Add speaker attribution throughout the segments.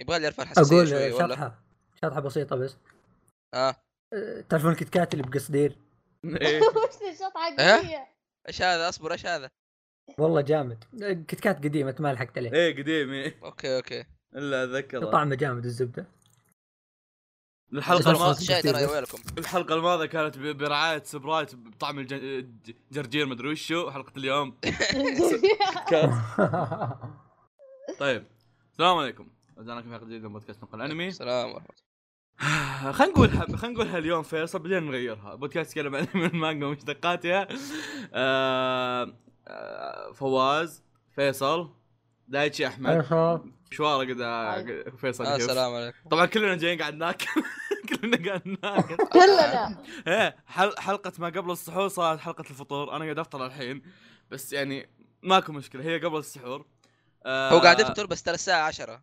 Speaker 1: يبغى لي ارفع الحساسيه
Speaker 2: اقول
Speaker 1: شوي ولا
Speaker 2: شطحه شطحه بسيطه بس
Speaker 1: اه
Speaker 2: أه، تعرفون الكيت كات اللي بقصدير
Speaker 3: إيه.
Speaker 4: وش الشطحه
Speaker 1: إيه؟
Speaker 4: قويه
Speaker 1: ايش هذا اصبر ايش هذا
Speaker 2: والله جامد أه، كيت كات قديم انت ما لحقت عليه
Speaker 3: ايه قديم ايه
Speaker 1: اوكي اوكي
Speaker 3: الا اتذكره
Speaker 2: طعمه جامد الزبده
Speaker 3: الحلقه
Speaker 2: بس
Speaker 3: الماضيه
Speaker 2: خلاص.
Speaker 1: بس شاي ترى يا ويلكم
Speaker 3: الحلقه الماضيه كانت ب- برعايه سبرايت بطعم الجن- الجرجير مدري وشو حلقه اليوم كات. طيب السلام عليكم رجعنا لكم في حلقه جديده من بودكاست نقل انمي
Speaker 1: سلام ورحمه
Speaker 3: خلينا نقول حب... خلينا نقولها اليوم فيصل بعدين نغيرها بودكاست يتكلم عن من المانجا ومشتقاتها آه... آه... فواز فيصل دايتشي احمد
Speaker 2: أيوة.
Speaker 3: مشواره قد قد- فيصل
Speaker 1: الله آه،
Speaker 3: كيف.
Speaker 1: السلام عليكم
Speaker 3: طبعا كلنا جايين قاعد ناكل كلنا قاعد ناكل
Speaker 4: كلنا
Speaker 3: ايه حل... حلقه ما قبل السحور صارت حلقه الفطور انا قاعد افطر الحين بس يعني ماكو مشكله هي قبل السحور آه...
Speaker 1: هو قاعد يفطر بس ترى الساعه 10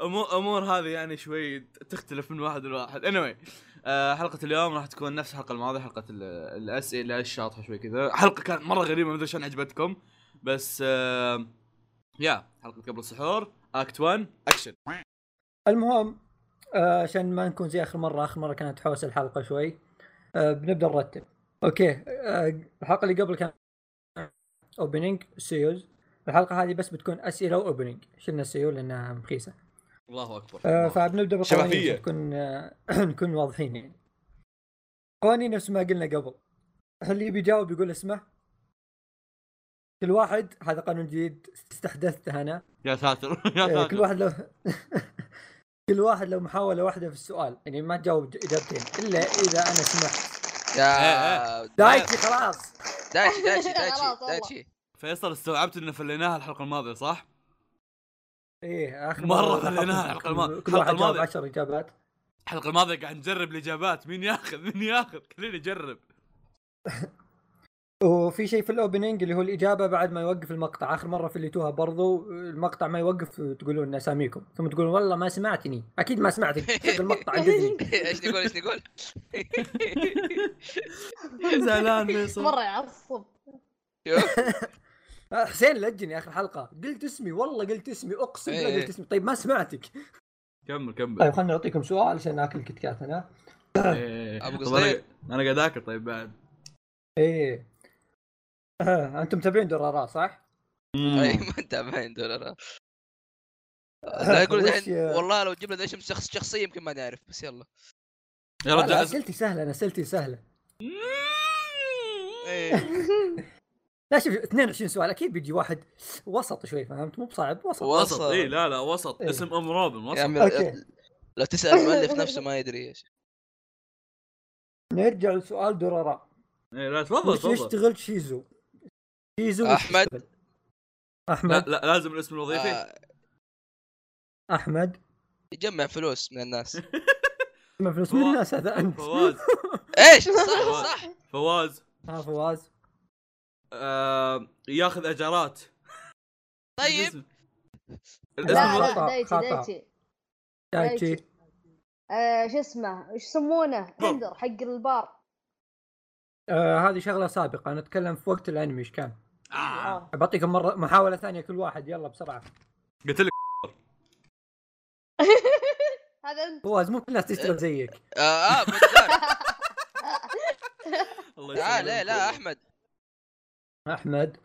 Speaker 3: امور امور هذه يعني شوي تختلف من واحد لواحد anyway آه حلقه اليوم راح تكون نفس الحلقه الماضيه حلقه ال- الاسئله الشاطحه شوي كذا حلقه كانت مره غريبه ما ادري شلون عجبتكم بس آه يا حلقه قبل السحور اكت 1 اكشن
Speaker 2: المهم آه، عشان ما نكون زي اخر مره اخر مره كانت حوس الحلقه شوي آه، بنبدا نرتب اوكي آه، الحلقه اللي قبل كان اوبننج سيوز الحلقه هذه بس بتكون اسئله واوبننج شلنا السيو لانها مخيسه
Speaker 3: الله اكبر
Speaker 2: آه، فبنبدا بالقوانين
Speaker 3: شفافية.
Speaker 2: عشان نكون آه، نكون واضحين يعني قوانين نفس ما قلنا قبل اللي بيجاوب يقول اسمه كل واحد هذا قانون جديد استحدثته انا
Speaker 3: يا ساتر
Speaker 2: إيه،
Speaker 3: يا
Speaker 2: كل
Speaker 3: ساتر
Speaker 2: واحد لو كل واحد لو محاولة واحدة في السؤال يعني ما تجاوب إجابتين إلا إذا أنا سمحت
Speaker 1: يا
Speaker 2: دايتي خلاص
Speaker 1: دايتشي دايتشي
Speaker 4: خلاص
Speaker 1: دايتشي
Speaker 4: والله.
Speaker 1: دايتشي
Speaker 3: فيصل استوعبت ان فليناها الحلقه الماضيه صح؟
Speaker 2: إيه آخر
Speaker 3: مرة
Speaker 2: لاحظت
Speaker 3: خليناها
Speaker 2: إن
Speaker 3: الحلقة الما-
Speaker 2: كل- كل
Speaker 3: الحلقة
Speaker 2: واحد جاوب
Speaker 3: الماضية.
Speaker 2: 10 إجابات
Speaker 3: الحلقه الماضيه قاعد نجرب الاجابات مين ياخذ مين ياخذ خليني اجرب
Speaker 2: وفي شيء في الأوبننج اللي هو الإجابة بعد ما يوقف المقطع آخر مرة في اللي توها برضو المقطع ما يوقف تقولون أساميكم ثم تقولون والله ما سمعتني أكيد ما سمعتك شوف المقطع
Speaker 3: طيب،
Speaker 2: عقدني
Speaker 1: ايش نقول ايش نقول؟
Speaker 3: زعلان فيصل
Speaker 4: مره يعصب
Speaker 1: شوف
Speaker 2: آه، حسين لجني آخر حلقة قلت اسمي والله قلت اسمي أقسم بالله
Speaker 1: إيه.
Speaker 2: قلت اسمي طيب ما سمعتك
Speaker 3: كمل كمل
Speaker 2: طيب خلينا نعطيكم سؤال عشان آكل كيت كات أنا
Speaker 3: إيه.
Speaker 1: أبو
Speaker 3: طب أنا-
Speaker 1: قصدير.
Speaker 3: انا قاعد اكل طيب بعد
Speaker 2: ايه آه، انتم متابعين دورارا صح؟
Speaker 1: أي، طيب، ما تابعين دولار لا يقول
Speaker 2: وش-
Speaker 1: الحين والله لو جبنا ذا شخص شخصيه يمكن ما نعرف بس يلا
Speaker 3: يا
Speaker 2: لا، لا،
Speaker 3: رجال
Speaker 2: اسئلتي سهله انا اسئلتي سهله
Speaker 1: إيه.
Speaker 2: لا شوف 22 سؤال اكيد بيجي واحد وسط شوي فهمت مو بصعب وسط
Speaker 1: وسط.
Speaker 3: وسط اي لا لا وسط
Speaker 2: إيه.
Speaker 3: اسم ام روبن
Speaker 1: يا
Speaker 3: وسط
Speaker 1: عمي
Speaker 2: اوكي
Speaker 1: لو تسال المؤلف نفسه ما يدري ايش
Speaker 2: نرجع لسؤال دورارا
Speaker 3: اي إيه، لا تفضل
Speaker 2: وش
Speaker 3: تفضل
Speaker 2: يشتغل شيزو؟ شيزو وش
Speaker 1: أحمد.
Speaker 2: يشتغل؟
Speaker 3: لا
Speaker 2: احمد
Speaker 3: لا لازم الاسم الوظيفي
Speaker 1: آه،
Speaker 2: احمد
Speaker 1: يجمع فلوس من الناس
Speaker 2: ما فلوس من
Speaker 3: فواز.
Speaker 2: الناس هذا انت
Speaker 3: فواز
Speaker 1: ايش صح صح
Speaker 3: فواز
Speaker 2: ها فواز
Speaker 3: آه، ياخذ اجارات
Speaker 1: طيب
Speaker 2: لا،
Speaker 3: الاسم
Speaker 4: لا
Speaker 3: الوظيفي
Speaker 2: خطأ،
Speaker 4: لا دايتي
Speaker 2: خطأ.
Speaker 4: دايتي
Speaker 2: دايتشي
Speaker 4: دايتشي. آه، شو اسمه ايش يسمونه هندر حق البار
Speaker 2: آه هذه شغله سابقه انا اتكلم في وقت الانمي ايش كان
Speaker 3: آه،
Speaker 4: آه.
Speaker 2: بعطيكم مره محاوله ثانيه كل واحد يلا بسرعه
Speaker 3: قلت لك
Speaker 4: هذا انت
Speaker 2: فواز مو كل الناس تشتغل زيك
Speaker 1: اه اه بالذات.
Speaker 3: الله
Speaker 1: تعال لا
Speaker 3: يسلمك.
Speaker 1: لا احمد
Speaker 2: احمد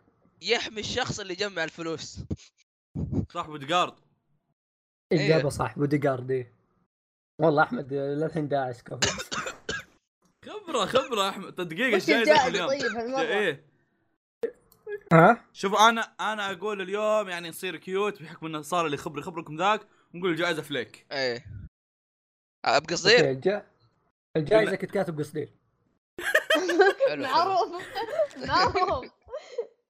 Speaker 1: يحمي الشخص اللي جمع الفلوس
Speaker 3: صح بودجارد
Speaker 1: إيه.
Speaker 2: اجابه صح بوديجارد إيه. والله احمد آه، للحين داعس كفو
Speaker 3: خبره خبره احمد دقيقه
Speaker 4: وش
Speaker 3: ايش جاي
Speaker 4: الداعي
Speaker 3: داخل اليوم
Speaker 4: طيب هالمره
Speaker 3: ايه
Speaker 2: ها
Speaker 3: شوف انا انا اقول اليوم يعني نصير كيوت بحكم انه صار اللي خبري خبركم ذاك ونقول الجائزه فليك
Speaker 1: ايه آه، بقصدير
Speaker 2: إيه. أوكي، الجا- الجائزه كنت كاتب قصدير
Speaker 1: حلو، حلو.
Speaker 4: معروف معروف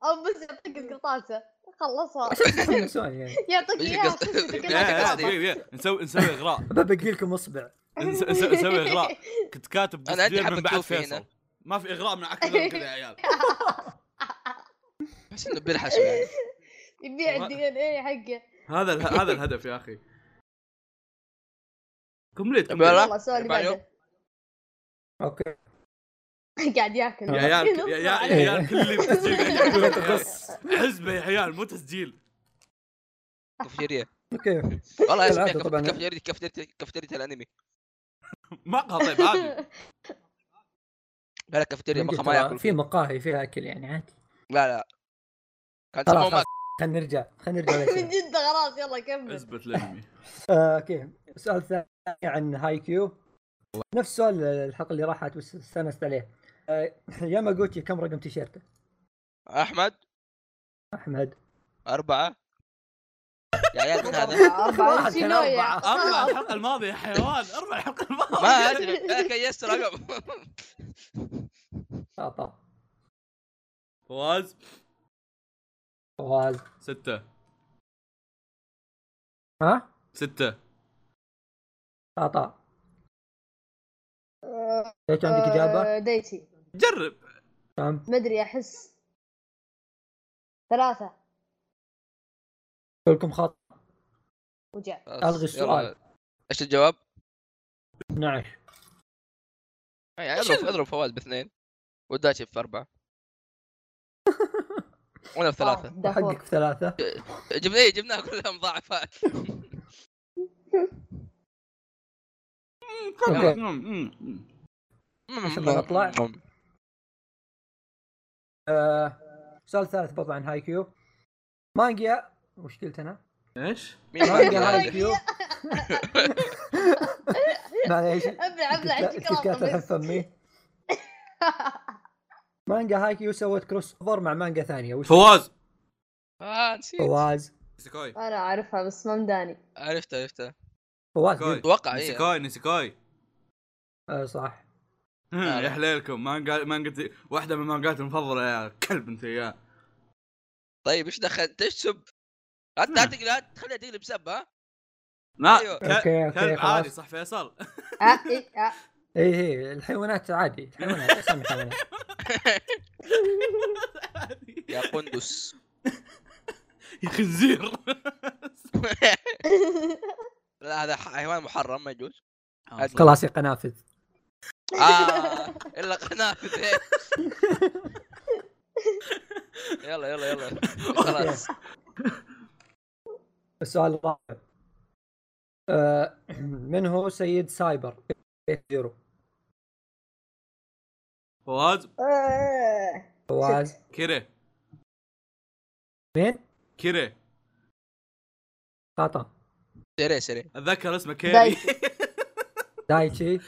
Speaker 4: او بس يعطيك القرطاسه خلصها
Speaker 2: تحمسون يعني
Speaker 4: يعطيك
Speaker 1: إيش
Speaker 4: اياها
Speaker 1: قصدك؟
Speaker 4: تمسك
Speaker 3: إيه،
Speaker 4: كلها
Speaker 3: إيه،
Speaker 4: تقراها.
Speaker 3: دقيقه دقيقه نسوي نسوي اغراء
Speaker 2: ببقي لكم اصبع
Speaker 3: نس- نس- نسوي اغراء كنت كاتب
Speaker 1: أنا عندي
Speaker 3: تصدير
Speaker 1: حبة
Speaker 3: من بعد
Speaker 1: توفي
Speaker 3: فيصل
Speaker 1: هنا.
Speaker 3: ما في اغراء من عكس كذا يا عيال
Speaker 1: بس انه بيلحس يعني.
Speaker 4: يبيع الدي ان اي حقه
Speaker 3: هذا اله- هذا الهدف يا اخي كومبليت
Speaker 1: أبي
Speaker 3: كومبليت
Speaker 4: والله السؤال اللي
Speaker 1: بعده.
Speaker 4: بعده
Speaker 2: اوكي
Speaker 4: قاعد ياكل
Speaker 3: يا عيال يا- يا يا عيال كل اللي بتسجيل قاعد ياكلون يا عيال.
Speaker 2: تقص
Speaker 3: حزبه يا عيال مو تسجيل
Speaker 1: كافيتيريا
Speaker 2: كيف
Speaker 1: والله اسمها
Speaker 2: بالعادة طبعاً.
Speaker 1: كافيتيريا كافيتيريا كافيتيريا الانمي
Speaker 3: مقهى طيب عادي
Speaker 1: لا لا كافيتيريا مقهى ما
Speaker 2: إنجلترا
Speaker 1: ياكل
Speaker 2: في مقاهي فيها اكل يعني عادي
Speaker 1: لا لا كان
Speaker 2: خلاص،
Speaker 1: سموه
Speaker 2: خلاص.
Speaker 1: ماك
Speaker 2: خلينا نرجع خلينا نرجع
Speaker 4: من
Speaker 2: للأشياء.
Speaker 4: جد خلاص يلا كمل
Speaker 3: اثبت الانمي
Speaker 2: آه، اوكي السؤال الثاني عن هاي كيو نفس سؤال الحلقه اللي راحت بس استانست عليه آه، ياماغوتشي كم رقم تيشيرته؟
Speaker 1: احمد
Speaker 2: احمد
Speaker 1: اربعه يا عيال من هذا
Speaker 4: أربعة
Speaker 2: واحد كان
Speaker 4: شينويا.
Speaker 2: أربعة.
Speaker 3: اربع الحلقه الماضيه يا حيوان اربع الحلقه
Speaker 1: ما
Speaker 3: الماضيه
Speaker 1: ادري انا كيست رقم
Speaker 2: خطا
Speaker 3: فواز
Speaker 2: فواز
Speaker 3: ستة
Speaker 2: ها؟
Speaker 3: ستة
Speaker 2: خطا ليش عندك اجابه؟
Speaker 4: آه، دايتشي
Speaker 3: جرب
Speaker 2: تمام
Speaker 4: مدري احس ثلاثة
Speaker 2: كلكم خطا
Speaker 4: وجع
Speaker 2: ألغي السؤال.
Speaker 1: ايش الجواب؟
Speaker 2: 12
Speaker 1: يعني
Speaker 3: إيش
Speaker 1: اضرب
Speaker 3: ال-
Speaker 1: اضرب فواز باثنين وداشي في اربعه وانا بثلاثه
Speaker 4: آه، دافور.
Speaker 2: حقك في ثلاثه
Speaker 1: جبنا إيه، جبناها كلها مضاعفه
Speaker 2: أوكي. عشان ما نطلع. آه، السؤال الثالث برضه عن هاي كيو مانجا وش قلت انا؟
Speaker 3: ايش؟
Speaker 1: مين ما
Speaker 2: مانجا
Speaker 1: يقدر
Speaker 2: هاي
Speaker 1: يعرف؟
Speaker 2: كيو معليش
Speaker 4: ابلع ابلع عندك
Speaker 2: كيت كات الحين فمي مانجا هاي كيو سوت كروس اوفر مع مانجا ثانيه وش
Speaker 3: فواز
Speaker 1: اه نسيت
Speaker 2: فواز
Speaker 3: نسيكاي
Speaker 4: انا اعرفها بس ما مداني
Speaker 1: عرفته عرفته
Speaker 2: فواز
Speaker 3: كوي.
Speaker 2: قلت.
Speaker 1: اتوقع اي
Speaker 3: نسيكاي نسيكاي
Speaker 2: آه، صح
Speaker 1: لا.
Speaker 3: يا حليلكم مانجا مانجا واحدة من مانجاتي المفضلة يا كلب انت يا
Speaker 1: طيب ايش دخل انت ايش تسب؟ لا ت- لا تقلب لا تخليها تقلب سب ها
Speaker 3: لا
Speaker 1: أيوة.
Speaker 3: ك-
Speaker 2: اوكي اوكي
Speaker 3: كلب عادي
Speaker 2: خلاص
Speaker 3: صح فيصل
Speaker 4: آه، إي، آه.
Speaker 2: اي اي إيه، الحيوانات عادي الحيوانات اسمي الحيوانات
Speaker 1: يا قندس
Speaker 3: يا خنزير
Speaker 1: لا هذا حيوان محرم ما يجوز
Speaker 2: خلاص يا قنافذ
Speaker 1: آه الا قنافذ إيه. يلا يلا يلا خلاص
Speaker 2: السؤال الرابع آه، من هو سيد سايبر زيرو
Speaker 3: فواز
Speaker 4: آه.
Speaker 2: فواز
Speaker 3: كيري
Speaker 2: مين؟
Speaker 3: كيري
Speaker 2: خطا
Speaker 1: سريع سريع
Speaker 3: اتذكر اسمه كيري
Speaker 4: دايتشي.
Speaker 2: دايتشي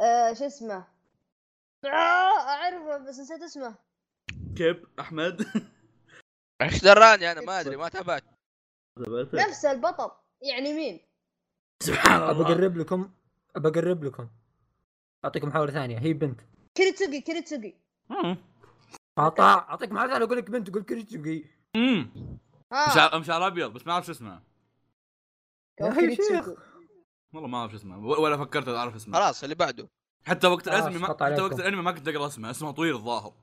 Speaker 4: آه، شو اسمه آه، اعرفه بس نسيت اسمه
Speaker 3: كيب احمد
Speaker 1: ايش دراني انا ما ادري ما تابعت
Speaker 2: إيه.
Speaker 4: نفس البطل يعني مين
Speaker 3: سبحان الله
Speaker 2: بقرب لكم بقرب لكم اعطيكم محاوله ثانيه هي بنت
Speaker 4: كيريتسوغي كيريتسوغي
Speaker 3: مم.
Speaker 2: خطا اعطيك محاوله ثانيه اقول لك بنت اقول كريتشوكي
Speaker 3: مم.
Speaker 4: اه
Speaker 3: شعر شعر ابيض بس ما اعرف شو اسمه
Speaker 2: يا أخي
Speaker 4: كيريتسوغي.
Speaker 3: والله ما اعرف شو اسمه و- ولا فكرت اعرف اسمه
Speaker 1: خلاص اللي بعده
Speaker 3: حتى وقت
Speaker 2: خلاص،
Speaker 3: الانمي ما...
Speaker 2: قطع
Speaker 3: حتى
Speaker 2: عليكم.
Speaker 3: وقت الانمي ما كنت اقرا اسمه اسمه طويل الظاهر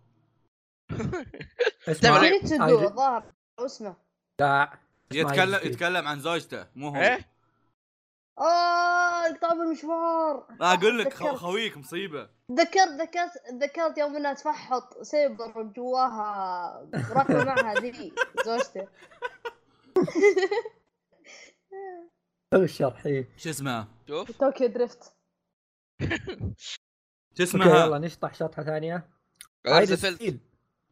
Speaker 2: اسمع
Speaker 1: تمام.
Speaker 4: كيريتسوغو
Speaker 2: آه،
Speaker 4: الظاهر أو اسمه
Speaker 2: لا
Speaker 3: يتكلم
Speaker 2: يجوز.
Speaker 3: يتكلم عن زوجته مو هو
Speaker 1: ايه
Speaker 4: اه طاب المشوار
Speaker 3: آه، اقول لك خو-
Speaker 4: تذكرت.
Speaker 3: خويك مصيبه
Speaker 4: ذكرت ذكرت ذكرت يوم انها تفحط سيبر جواها ركبه معها ذي زوجته
Speaker 2: حلو الشرح إيه.
Speaker 3: شو اسمها
Speaker 1: شوف
Speaker 4: طوكيو دريفت
Speaker 3: شو
Speaker 2: اوكي يلا
Speaker 3: اسمها
Speaker 2: نشطح شطحه ثانيه
Speaker 1: عايز
Speaker 2: عايز
Speaker 1: الفيلم
Speaker 2: ستيل.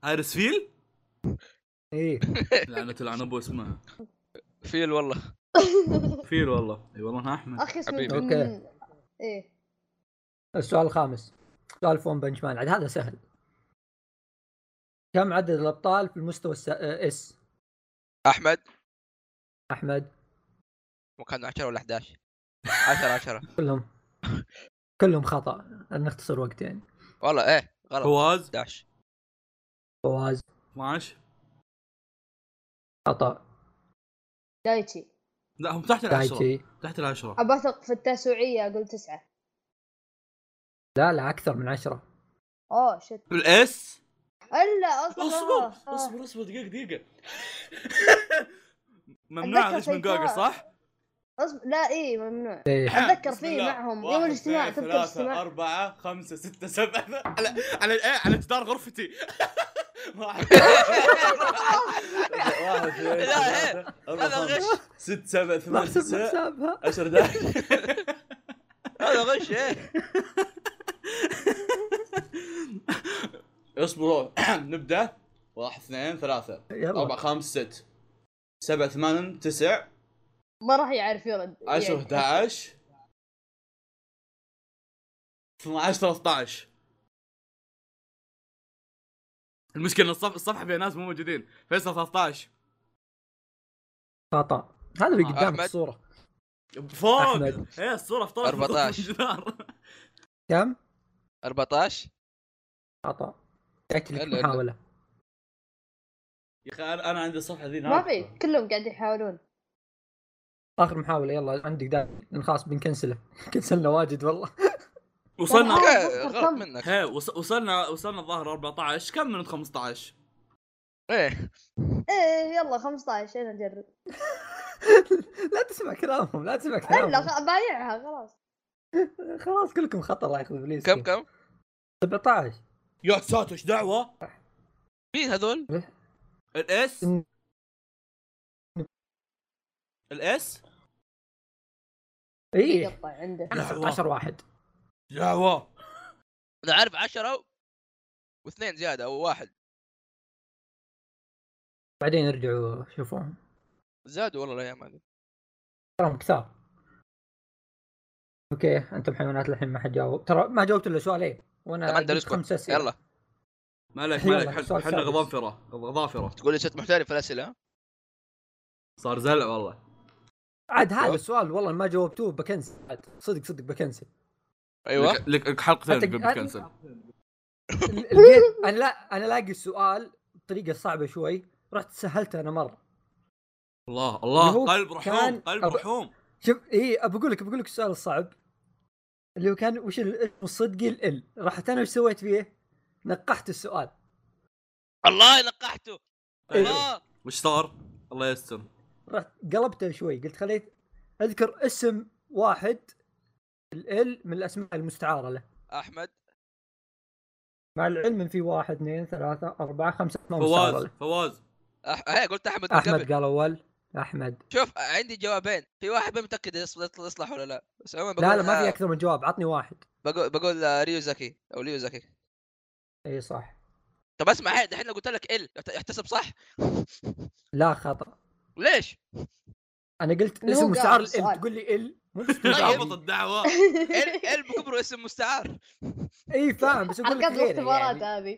Speaker 3: ايرس فيل
Speaker 2: ايه
Speaker 3: لعنة لعن ابو اسمها
Speaker 1: فيل والله
Speaker 3: فيل والله اي والله أنا احمد
Speaker 4: اخي اسمه
Speaker 1: حبيبي.
Speaker 2: أوكي.
Speaker 4: من- ايه
Speaker 2: السؤال الخامس سؤال فون بنش مان عاد هذا سهل كم عدد الابطال في المستوى الس... آه، اس
Speaker 1: احمد
Speaker 2: احمد
Speaker 1: وكان 10 ولا 11 10 10
Speaker 2: كلهم كلهم خطا نختصر وقت يعني
Speaker 1: والله ايه غلط
Speaker 3: فواز
Speaker 1: 11
Speaker 2: فواز
Speaker 3: 12
Speaker 2: خطا
Speaker 4: دايتشي
Speaker 3: لا هم تحت العشرة
Speaker 2: دايتشي
Speaker 3: تحت العشرة
Speaker 4: ابى اثق في التاسوعيه اقول تسعه
Speaker 2: لا لا اكثر من عشرة
Speaker 4: اوه شت
Speaker 3: الاس
Speaker 4: الا اصلا
Speaker 3: اصبر
Speaker 4: آه.
Speaker 3: اصبر اصبر دقيقة دقيقة ممنوع غش
Speaker 4: أتذكر
Speaker 3: من
Speaker 4: شيء كان.
Speaker 3: جوجل صح؟
Speaker 4: اصبر لا ايه ممنوع
Speaker 2: ايه
Speaker 4: أتذكر
Speaker 3: بسم
Speaker 4: فيه
Speaker 3: الله.
Speaker 4: معهم
Speaker 3: واحد،
Speaker 4: يوم الاجتماع،
Speaker 3: اثنين،
Speaker 4: تذكر
Speaker 3: ثلاثة
Speaker 4: الاجتماع؟
Speaker 3: أربعة خمسة ستة سبعة على على إيه؟ على جدار غرفتي إيه.
Speaker 5: واحد واحد اثنين ثلاثة،
Speaker 1: لا،
Speaker 5: أربعة،
Speaker 1: هذا
Speaker 5: خمسة،
Speaker 1: غش.
Speaker 5: ست سبع
Speaker 2: ما
Speaker 5: ثمان
Speaker 2: احسب
Speaker 5: تسع
Speaker 2: حسابها
Speaker 5: عشر دقائق
Speaker 1: هذا غش ايه
Speaker 5: اصبروا نبدا واحد اثنين ثلاثة أربعة
Speaker 2: يلا
Speaker 5: خمس ست سبعة ثمان تسع
Speaker 4: ما راح يعرف يرد
Speaker 5: عشر
Speaker 4: يعني.
Speaker 5: 11 12 13
Speaker 3: المشكله إن الصف- الصفحه فيها ناس مو موجودين فيصل 13
Speaker 2: خطا هذا
Speaker 3: آه،
Speaker 2: اللي قدامك
Speaker 1: أحمد.
Speaker 2: الصوره
Speaker 3: فوق
Speaker 2: أحمد.
Speaker 3: ايه الصوره فطرت
Speaker 1: 14.
Speaker 3: الجدار.
Speaker 2: كم؟
Speaker 1: 14
Speaker 2: خطا جاك لك
Speaker 1: إلا- إلا.
Speaker 2: محاوله
Speaker 5: يا اخي انا أنا عندي الصفحه ذي
Speaker 4: ما
Speaker 5: نار.
Speaker 4: في كلهم قاعد يحاولون
Speaker 2: اخر محاوله يلا عندك داعي خلاص بنكنسله كنسلنا واجد والله
Speaker 3: وصلنا
Speaker 4: والله.
Speaker 1: إيه، غلط منك
Speaker 2: إيه.
Speaker 3: هي وص- وصلنا وصلنا الظاهر 14 كم من 15
Speaker 1: ايه
Speaker 4: ايه يلا 15 انا اجرب
Speaker 2: لا تسمع كلامهم لا تسمع
Speaker 4: الا
Speaker 2: كلامهم
Speaker 4: خ- بايعها خلاص
Speaker 2: خلاص كلكم خطا الله ياخذ ابليس
Speaker 1: كم كم
Speaker 2: 17
Speaker 5: يا ساتر ايش دعوه؟
Speaker 1: مين هذول؟
Speaker 3: الاس الاس
Speaker 2: اي
Speaker 4: يقطع عنده
Speaker 2: انا 16 إيه. نعم، واحد
Speaker 5: دعوه
Speaker 1: انا عارف 10 واثنين زياده او واحد
Speaker 2: بعدين ارجعوا شوفوهم
Speaker 1: زادوا والله الايام هذه
Speaker 2: تراهم كثار اوكي انتم حيوانات الحين ما حد جاوب ترى ما جاوبت الا سؤالين
Speaker 1: طب
Speaker 2: وانا
Speaker 1: عندنا
Speaker 2: جبت
Speaker 1: أسبوع.
Speaker 2: خمسة اسئله
Speaker 1: يلا
Speaker 3: ما عليك ما
Speaker 2: يلا،
Speaker 3: عليك حل-
Speaker 2: سؤال
Speaker 3: حنا
Speaker 2: سادس.
Speaker 3: غضنفره غضافره
Speaker 1: تقول لي صرت محترف في الاسئله ها؟
Speaker 3: صار زلع والله
Speaker 2: عاد هذا السؤال والله ما جاوبتوه بكنسل عاد صدق صدق بكنسل
Speaker 1: ايوه
Speaker 3: لك- لك لك حلقتين
Speaker 2: حتى-
Speaker 3: تقول بتكنسل
Speaker 2: ال- الجيم انا لا انا لاقي السؤال بطريقه صعبه شوي رحت سهلته انا مره
Speaker 3: الله الله
Speaker 2: هو
Speaker 3: قلب رحوم
Speaker 2: كان-
Speaker 3: قلب
Speaker 2: أب-
Speaker 3: رحوم
Speaker 2: شوف اي بقول لك بقول لك السؤال الصعب اللي هو كان وش الاسم الصدقي ال رحت انا وش سويت فيه؟ نقحت السؤال
Speaker 1: الله نقحته
Speaker 2: إيه.
Speaker 1: الله
Speaker 3: وش صار؟ الله يستر
Speaker 2: رحت قلبته شوي قلت خليت اذكر اسم واحد ال من الاسماء المستعاره له
Speaker 1: احمد
Speaker 2: مع العلم ان في واحد اثنين ثلاثة أربعة خمسة اسماء مستعارة
Speaker 3: فواز
Speaker 2: له
Speaker 3: فواز
Speaker 1: أح... هي قلت احمد من قبل
Speaker 2: أحمد قال أول أحمد
Speaker 1: شوف عندي جوابين في واحد ما متاكد يص- يطل- يصلح ولا لا بس عموما بقول
Speaker 2: لا لا ما في
Speaker 1: آه،
Speaker 2: أكثر من جواب عطني واحد
Speaker 1: بقول بقول آه، ريو زكي او ليو زكي
Speaker 2: أي صح
Speaker 1: طب اسمع هي دحين لو قلت لك ال يحت- يحتسب صح
Speaker 2: لا خطأ
Speaker 1: ليش؟
Speaker 2: أنا قلت
Speaker 4: اللي هو
Speaker 2: اسم
Speaker 4: قال
Speaker 2: مستعار ال
Speaker 4: السؤال.
Speaker 2: تقول لي ال مو
Speaker 1: طيب.
Speaker 3: ضبط
Speaker 2: مستعار.
Speaker 3: الدعوه
Speaker 1: ال
Speaker 2: إيه.
Speaker 1: ال بكبره اسم مستعار
Speaker 2: اي فاهم بس أقول لك
Speaker 4: حلقات
Speaker 2: غيره
Speaker 4: الاختبارات
Speaker 2: يعني.
Speaker 4: هذه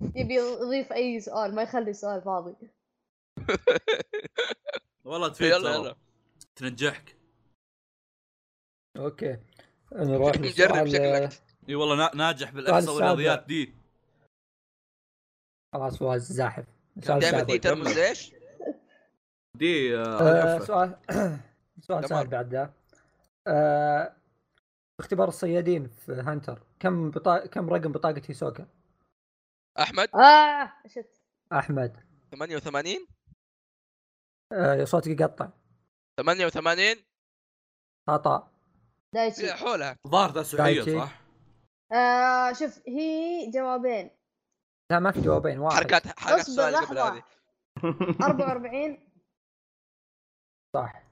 Speaker 4: يبي يضيف اي سؤال ما يخلي سؤال فاضي
Speaker 3: والله تفيد
Speaker 1: يلا
Speaker 3: ترى.
Speaker 1: يلا
Speaker 3: تنجحك
Speaker 2: أوكي نروح آه،
Speaker 1: نجرب
Speaker 2: للسؤال
Speaker 1: شكلك
Speaker 3: اي والله نا- ناجح بالاحصاء
Speaker 2: السابع.
Speaker 3: والرياضيات دي
Speaker 2: خلاص فواز زاحف سؤال
Speaker 1: دائما
Speaker 2: سابع
Speaker 1: دي ترمز ايش؟
Speaker 3: دي آه،
Speaker 2: آه،
Speaker 3: عفة.
Speaker 2: سؤال سؤال
Speaker 1: تمام.
Speaker 2: سهل بعد ذا آه، اختبار الصيادين في هانتر كم بطا... كم رقم بطاقة هيسوكا؟
Speaker 1: احمد
Speaker 2: آه.
Speaker 4: اه شت
Speaker 2: أحمد
Speaker 1: 88
Speaker 2: آه، صوتك يقطع
Speaker 1: 88
Speaker 2: خطأ
Speaker 4: دايتشي
Speaker 1: حولها
Speaker 3: ظاهر تسويحيه
Speaker 2: دايتشي.
Speaker 3: صح؟
Speaker 4: آه شوف هي جوابين
Speaker 2: لا ما في جوابين واحد
Speaker 1: حركات حركات
Speaker 4: اصبر
Speaker 1: السؤال اللي قبل
Speaker 4: لحظة
Speaker 1: هذه
Speaker 4: 44
Speaker 2: صح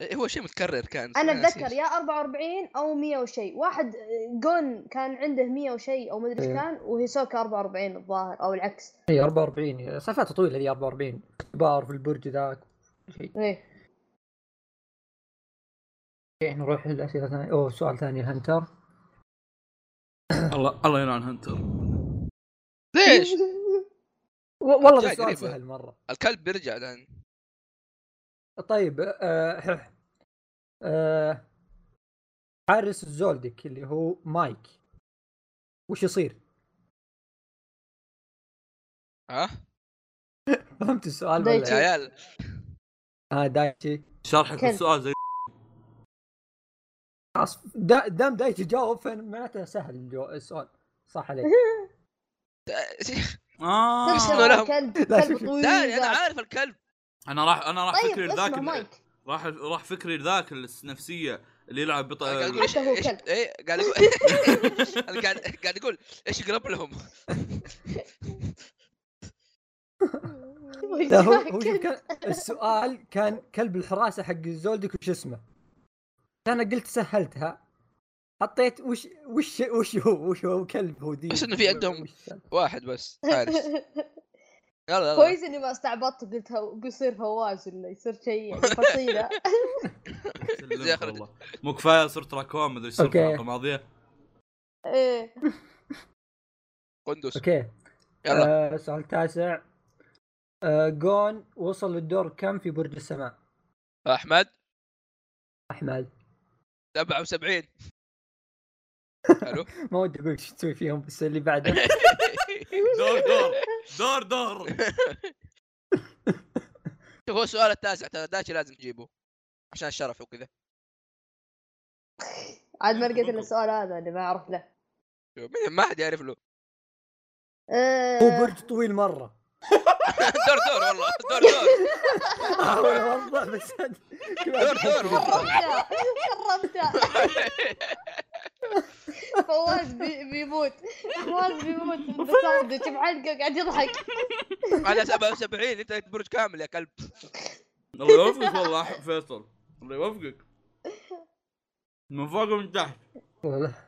Speaker 1: إيه، هو شيء متكرر كان
Speaker 4: انا
Speaker 1: نسيت.
Speaker 4: اتذكر يا 44 او 100 وشيء واحد آه، جون كان عنده 100 وشيء او مدري ايش
Speaker 2: إيه.
Speaker 4: كان وهيسوكا 44 الظاهر او العكس
Speaker 2: اي 44 سالفتها طويله ذي 44 اختبار في البرج ذاك شيء
Speaker 4: ايه
Speaker 2: اوكي إيه، نروح للاسئله الثانيه اوه سؤال ثاني هنتر
Speaker 3: الله الله ينعم هنتر
Speaker 1: ليش؟ آه.
Speaker 2: والله
Speaker 1: جاي
Speaker 2: ذا سؤال
Speaker 1: قريب.
Speaker 2: سهل مره
Speaker 1: الكلب بيرجع الان
Speaker 2: طيب آه حح. آه حارس الزولدك اللي هو مايك وش يصير؟
Speaker 1: ها؟
Speaker 2: فهمت السؤال
Speaker 1: يا
Speaker 2: ولا
Speaker 4: دايتشي.
Speaker 1: عيال
Speaker 2: ها دايتشي
Speaker 3: شرحك
Speaker 4: كلب.
Speaker 3: السؤال زي
Speaker 2: خلاص دا- دام دايتشي جاوب فمعناته سهل الجو- السؤال صح عليك
Speaker 3: اه آه.
Speaker 1: اسمه لهم.
Speaker 4: كلب
Speaker 2: لا، شوف-
Speaker 4: كلب
Speaker 2: شوف.
Speaker 4: طويل
Speaker 1: لا انا
Speaker 4: ذاك.
Speaker 1: عارف الكلب
Speaker 3: انا راح انا راح
Speaker 4: طيب
Speaker 3: فكري
Speaker 4: اسمه
Speaker 3: لذاك
Speaker 4: مايك
Speaker 3: راح راح فكري لذاك النفسيه اللي يلعب بط
Speaker 1: قاعد يقول
Speaker 3: ال-
Speaker 1: ايش
Speaker 4: حتى هو
Speaker 1: ايش
Speaker 4: كلب.
Speaker 1: ايه قاعد يقول أنا قاعد قاعد يقول ايش قرب لهم
Speaker 2: لا هو هو شوف كان السؤال كان كلب الحراسه حق زولدك وش اسمه؟ انا قلت سهلتها حطيت وش وش وش هو وش هو كلب هو دي
Speaker 1: بس إنه في عندهم-
Speaker 2: وش-
Speaker 1: واحد بس حارس يلا يلا
Speaker 4: كويس اني ما استعبطت قلت هو- بيصير هواز ولا يصير شيء يعني فصيله
Speaker 3: سلمت
Speaker 1: زي أخرج.
Speaker 3: والله. مو كفايه صرت راكوان مدري ايش صرت
Speaker 2: أوكي.
Speaker 3: الحلقه الماضيه
Speaker 4: ايه
Speaker 1: قندوس
Speaker 2: اوكي
Speaker 1: يلا
Speaker 2: آه، السؤال التاسع آه، جون وصل للدور كم في برج السماء؟
Speaker 1: احمد
Speaker 2: احمد
Speaker 1: 77 حلو
Speaker 2: ما ودي اقول ايش تسوي فيهم بس اللي بعده
Speaker 3: دور دور دور دور
Speaker 1: شوف هو السؤال التاسع ترى داشي لازم تجيبه عشان الشرف وكذا
Speaker 4: عاد ما لقيت الا السؤال هذا اللي ما اعرف له
Speaker 1: شوف، مين- ما حد يعرف له
Speaker 2: هو
Speaker 4: آه،
Speaker 2: برج طويل مره
Speaker 1: دور دور والله دور دور
Speaker 2: احاول اوضح بس أنا- كل واحد
Speaker 1: دور دور
Speaker 2: يحس-
Speaker 1: والله.
Speaker 4: خربتها خربتها فواز بي- بيموت فواز بيموت من ذا ساندويتش بحلقه قاعد يضحك
Speaker 1: انا 77 انت برج كامل يا كلب
Speaker 3: الله يوفقك والله أح- فيصل الله يوفقك من فوق ومن تحت
Speaker 2: والله.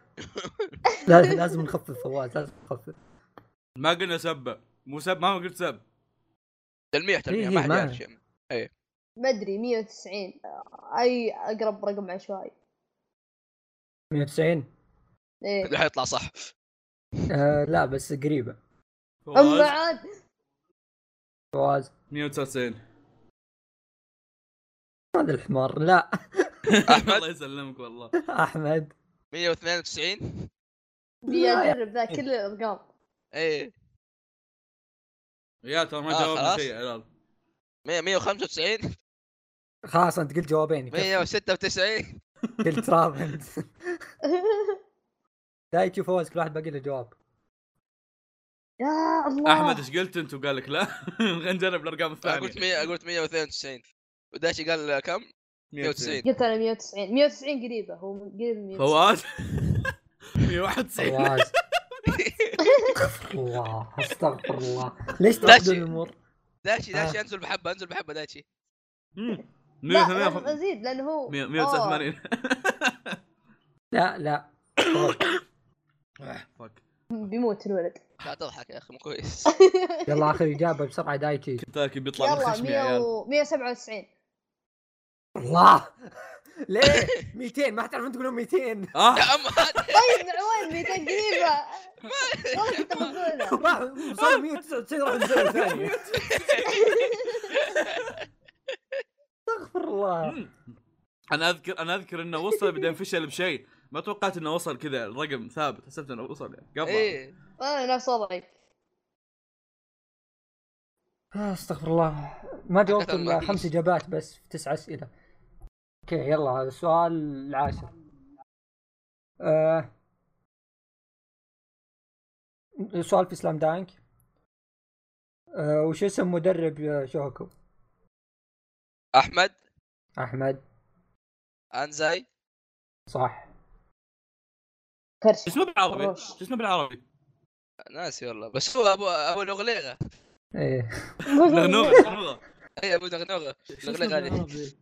Speaker 2: لا لازم نخفف فواز لازم نخفف
Speaker 3: ما قلنا سبه مو سب ما قلت سب
Speaker 1: تلميح تلميح
Speaker 2: إيه،
Speaker 1: ما حد
Speaker 2: ما-
Speaker 1: يعرف شيء
Speaker 4: ما ادري 190 آه، اي اقرب رقم عشوائي
Speaker 2: 190
Speaker 4: ايه
Speaker 1: اللي حيطلع صح
Speaker 2: آه، لا بس قريبه
Speaker 4: اما
Speaker 3: فواز
Speaker 4: عاد
Speaker 2: فواز
Speaker 3: 199
Speaker 2: هذا الحمار لا
Speaker 3: الله يسلمك والله
Speaker 2: احمد
Speaker 1: 192
Speaker 4: بيجرب ذا كل الارقام
Speaker 1: ايه
Speaker 3: يا ترى ما
Speaker 1: آه،
Speaker 3: جاوبنا
Speaker 1: خلاص.
Speaker 3: شيء يا عيال
Speaker 1: 100 195
Speaker 2: خلاص انت قلت جوابين يكفي.
Speaker 1: 196
Speaker 2: قلت راب انت لا يشوف فواز كل واحد باقي له جواب
Speaker 4: يا الله
Speaker 3: احمد ايش قلت انت وقال لك لا خلينا نجرب الارقام
Speaker 1: أنا
Speaker 3: الثانيه
Speaker 1: قلت 100 قلت 192 وداشي قال كم؟ 190
Speaker 4: قلت انا 190 190 قريبه هو قريب من 190
Speaker 3: فواز 191
Speaker 2: فواز استغفر الله استغفر الله ليش تعقدون الامور؟
Speaker 1: داشي داشي
Speaker 2: آه.
Speaker 1: انزل بحبه انزل بحبه داشي
Speaker 3: مم.
Speaker 4: لا لازم
Speaker 3: 188
Speaker 4: ازيد لانه هو آه،
Speaker 3: 189
Speaker 2: لا لا
Speaker 3: فك
Speaker 4: آه، بيموت الولد
Speaker 1: لا تضحك يا اخي مو كويس
Speaker 2: يلا اخر اجابه بسرعه دايتشي
Speaker 3: تاكي بيطلع من
Speaker 4: يلا
Speaker 3: خشمي يا
Speaker 4: 100
Speaker 3: عيال
Speaker 4: و- 197
Speaker 2: الله ليه 200 ما تعرفون تقولون 200
Speaker 1: يا
Speaker 3: اه
Speaker 1: عم هذا
Speaker 4: طيب من عوين 200 قريبه والله كنت بقولها
Speaker 2: راح- صار 199 راح نزود ثانيه استغفر الله
Speaker 3: مم. انا اذكر انا اذكر انه وصل بعدين فشل بشيء ما توقعت انه وصل كذا الرقم ثابت حسبت انه وصل يعني قبل
Speaker 1: ايه
Speaker 4: انا نفس وضعي
Speaker 2: آه، استغفر الله ما جاوبت
Speaker 1: أكثر ما
Speaker 2: الا
Speaker 1: فيش.
Speaker 2: خمس اجابات بس في تسع اسئله اوكي يلا السؤال العاشر آه. سؤال في سلام دانك آه. وش اسم مدرب آه، شوكو
Speaker 1: احمد
Speaker 2: احمد
Speaker 1: انزاي
Speaker 2: صح
Speaker 4: كرش
Speaker 3: شو اسمه بالعربي؟ شو اسمه بالعربي؟
Speaker 1: ناسي والله بس هو ابو ابو لغليغه
Speaker 2: ايه
Speaker 3: نغنوغه نغنوغه
Speaker 1: اي ابو لغنوغه لغليغه هذه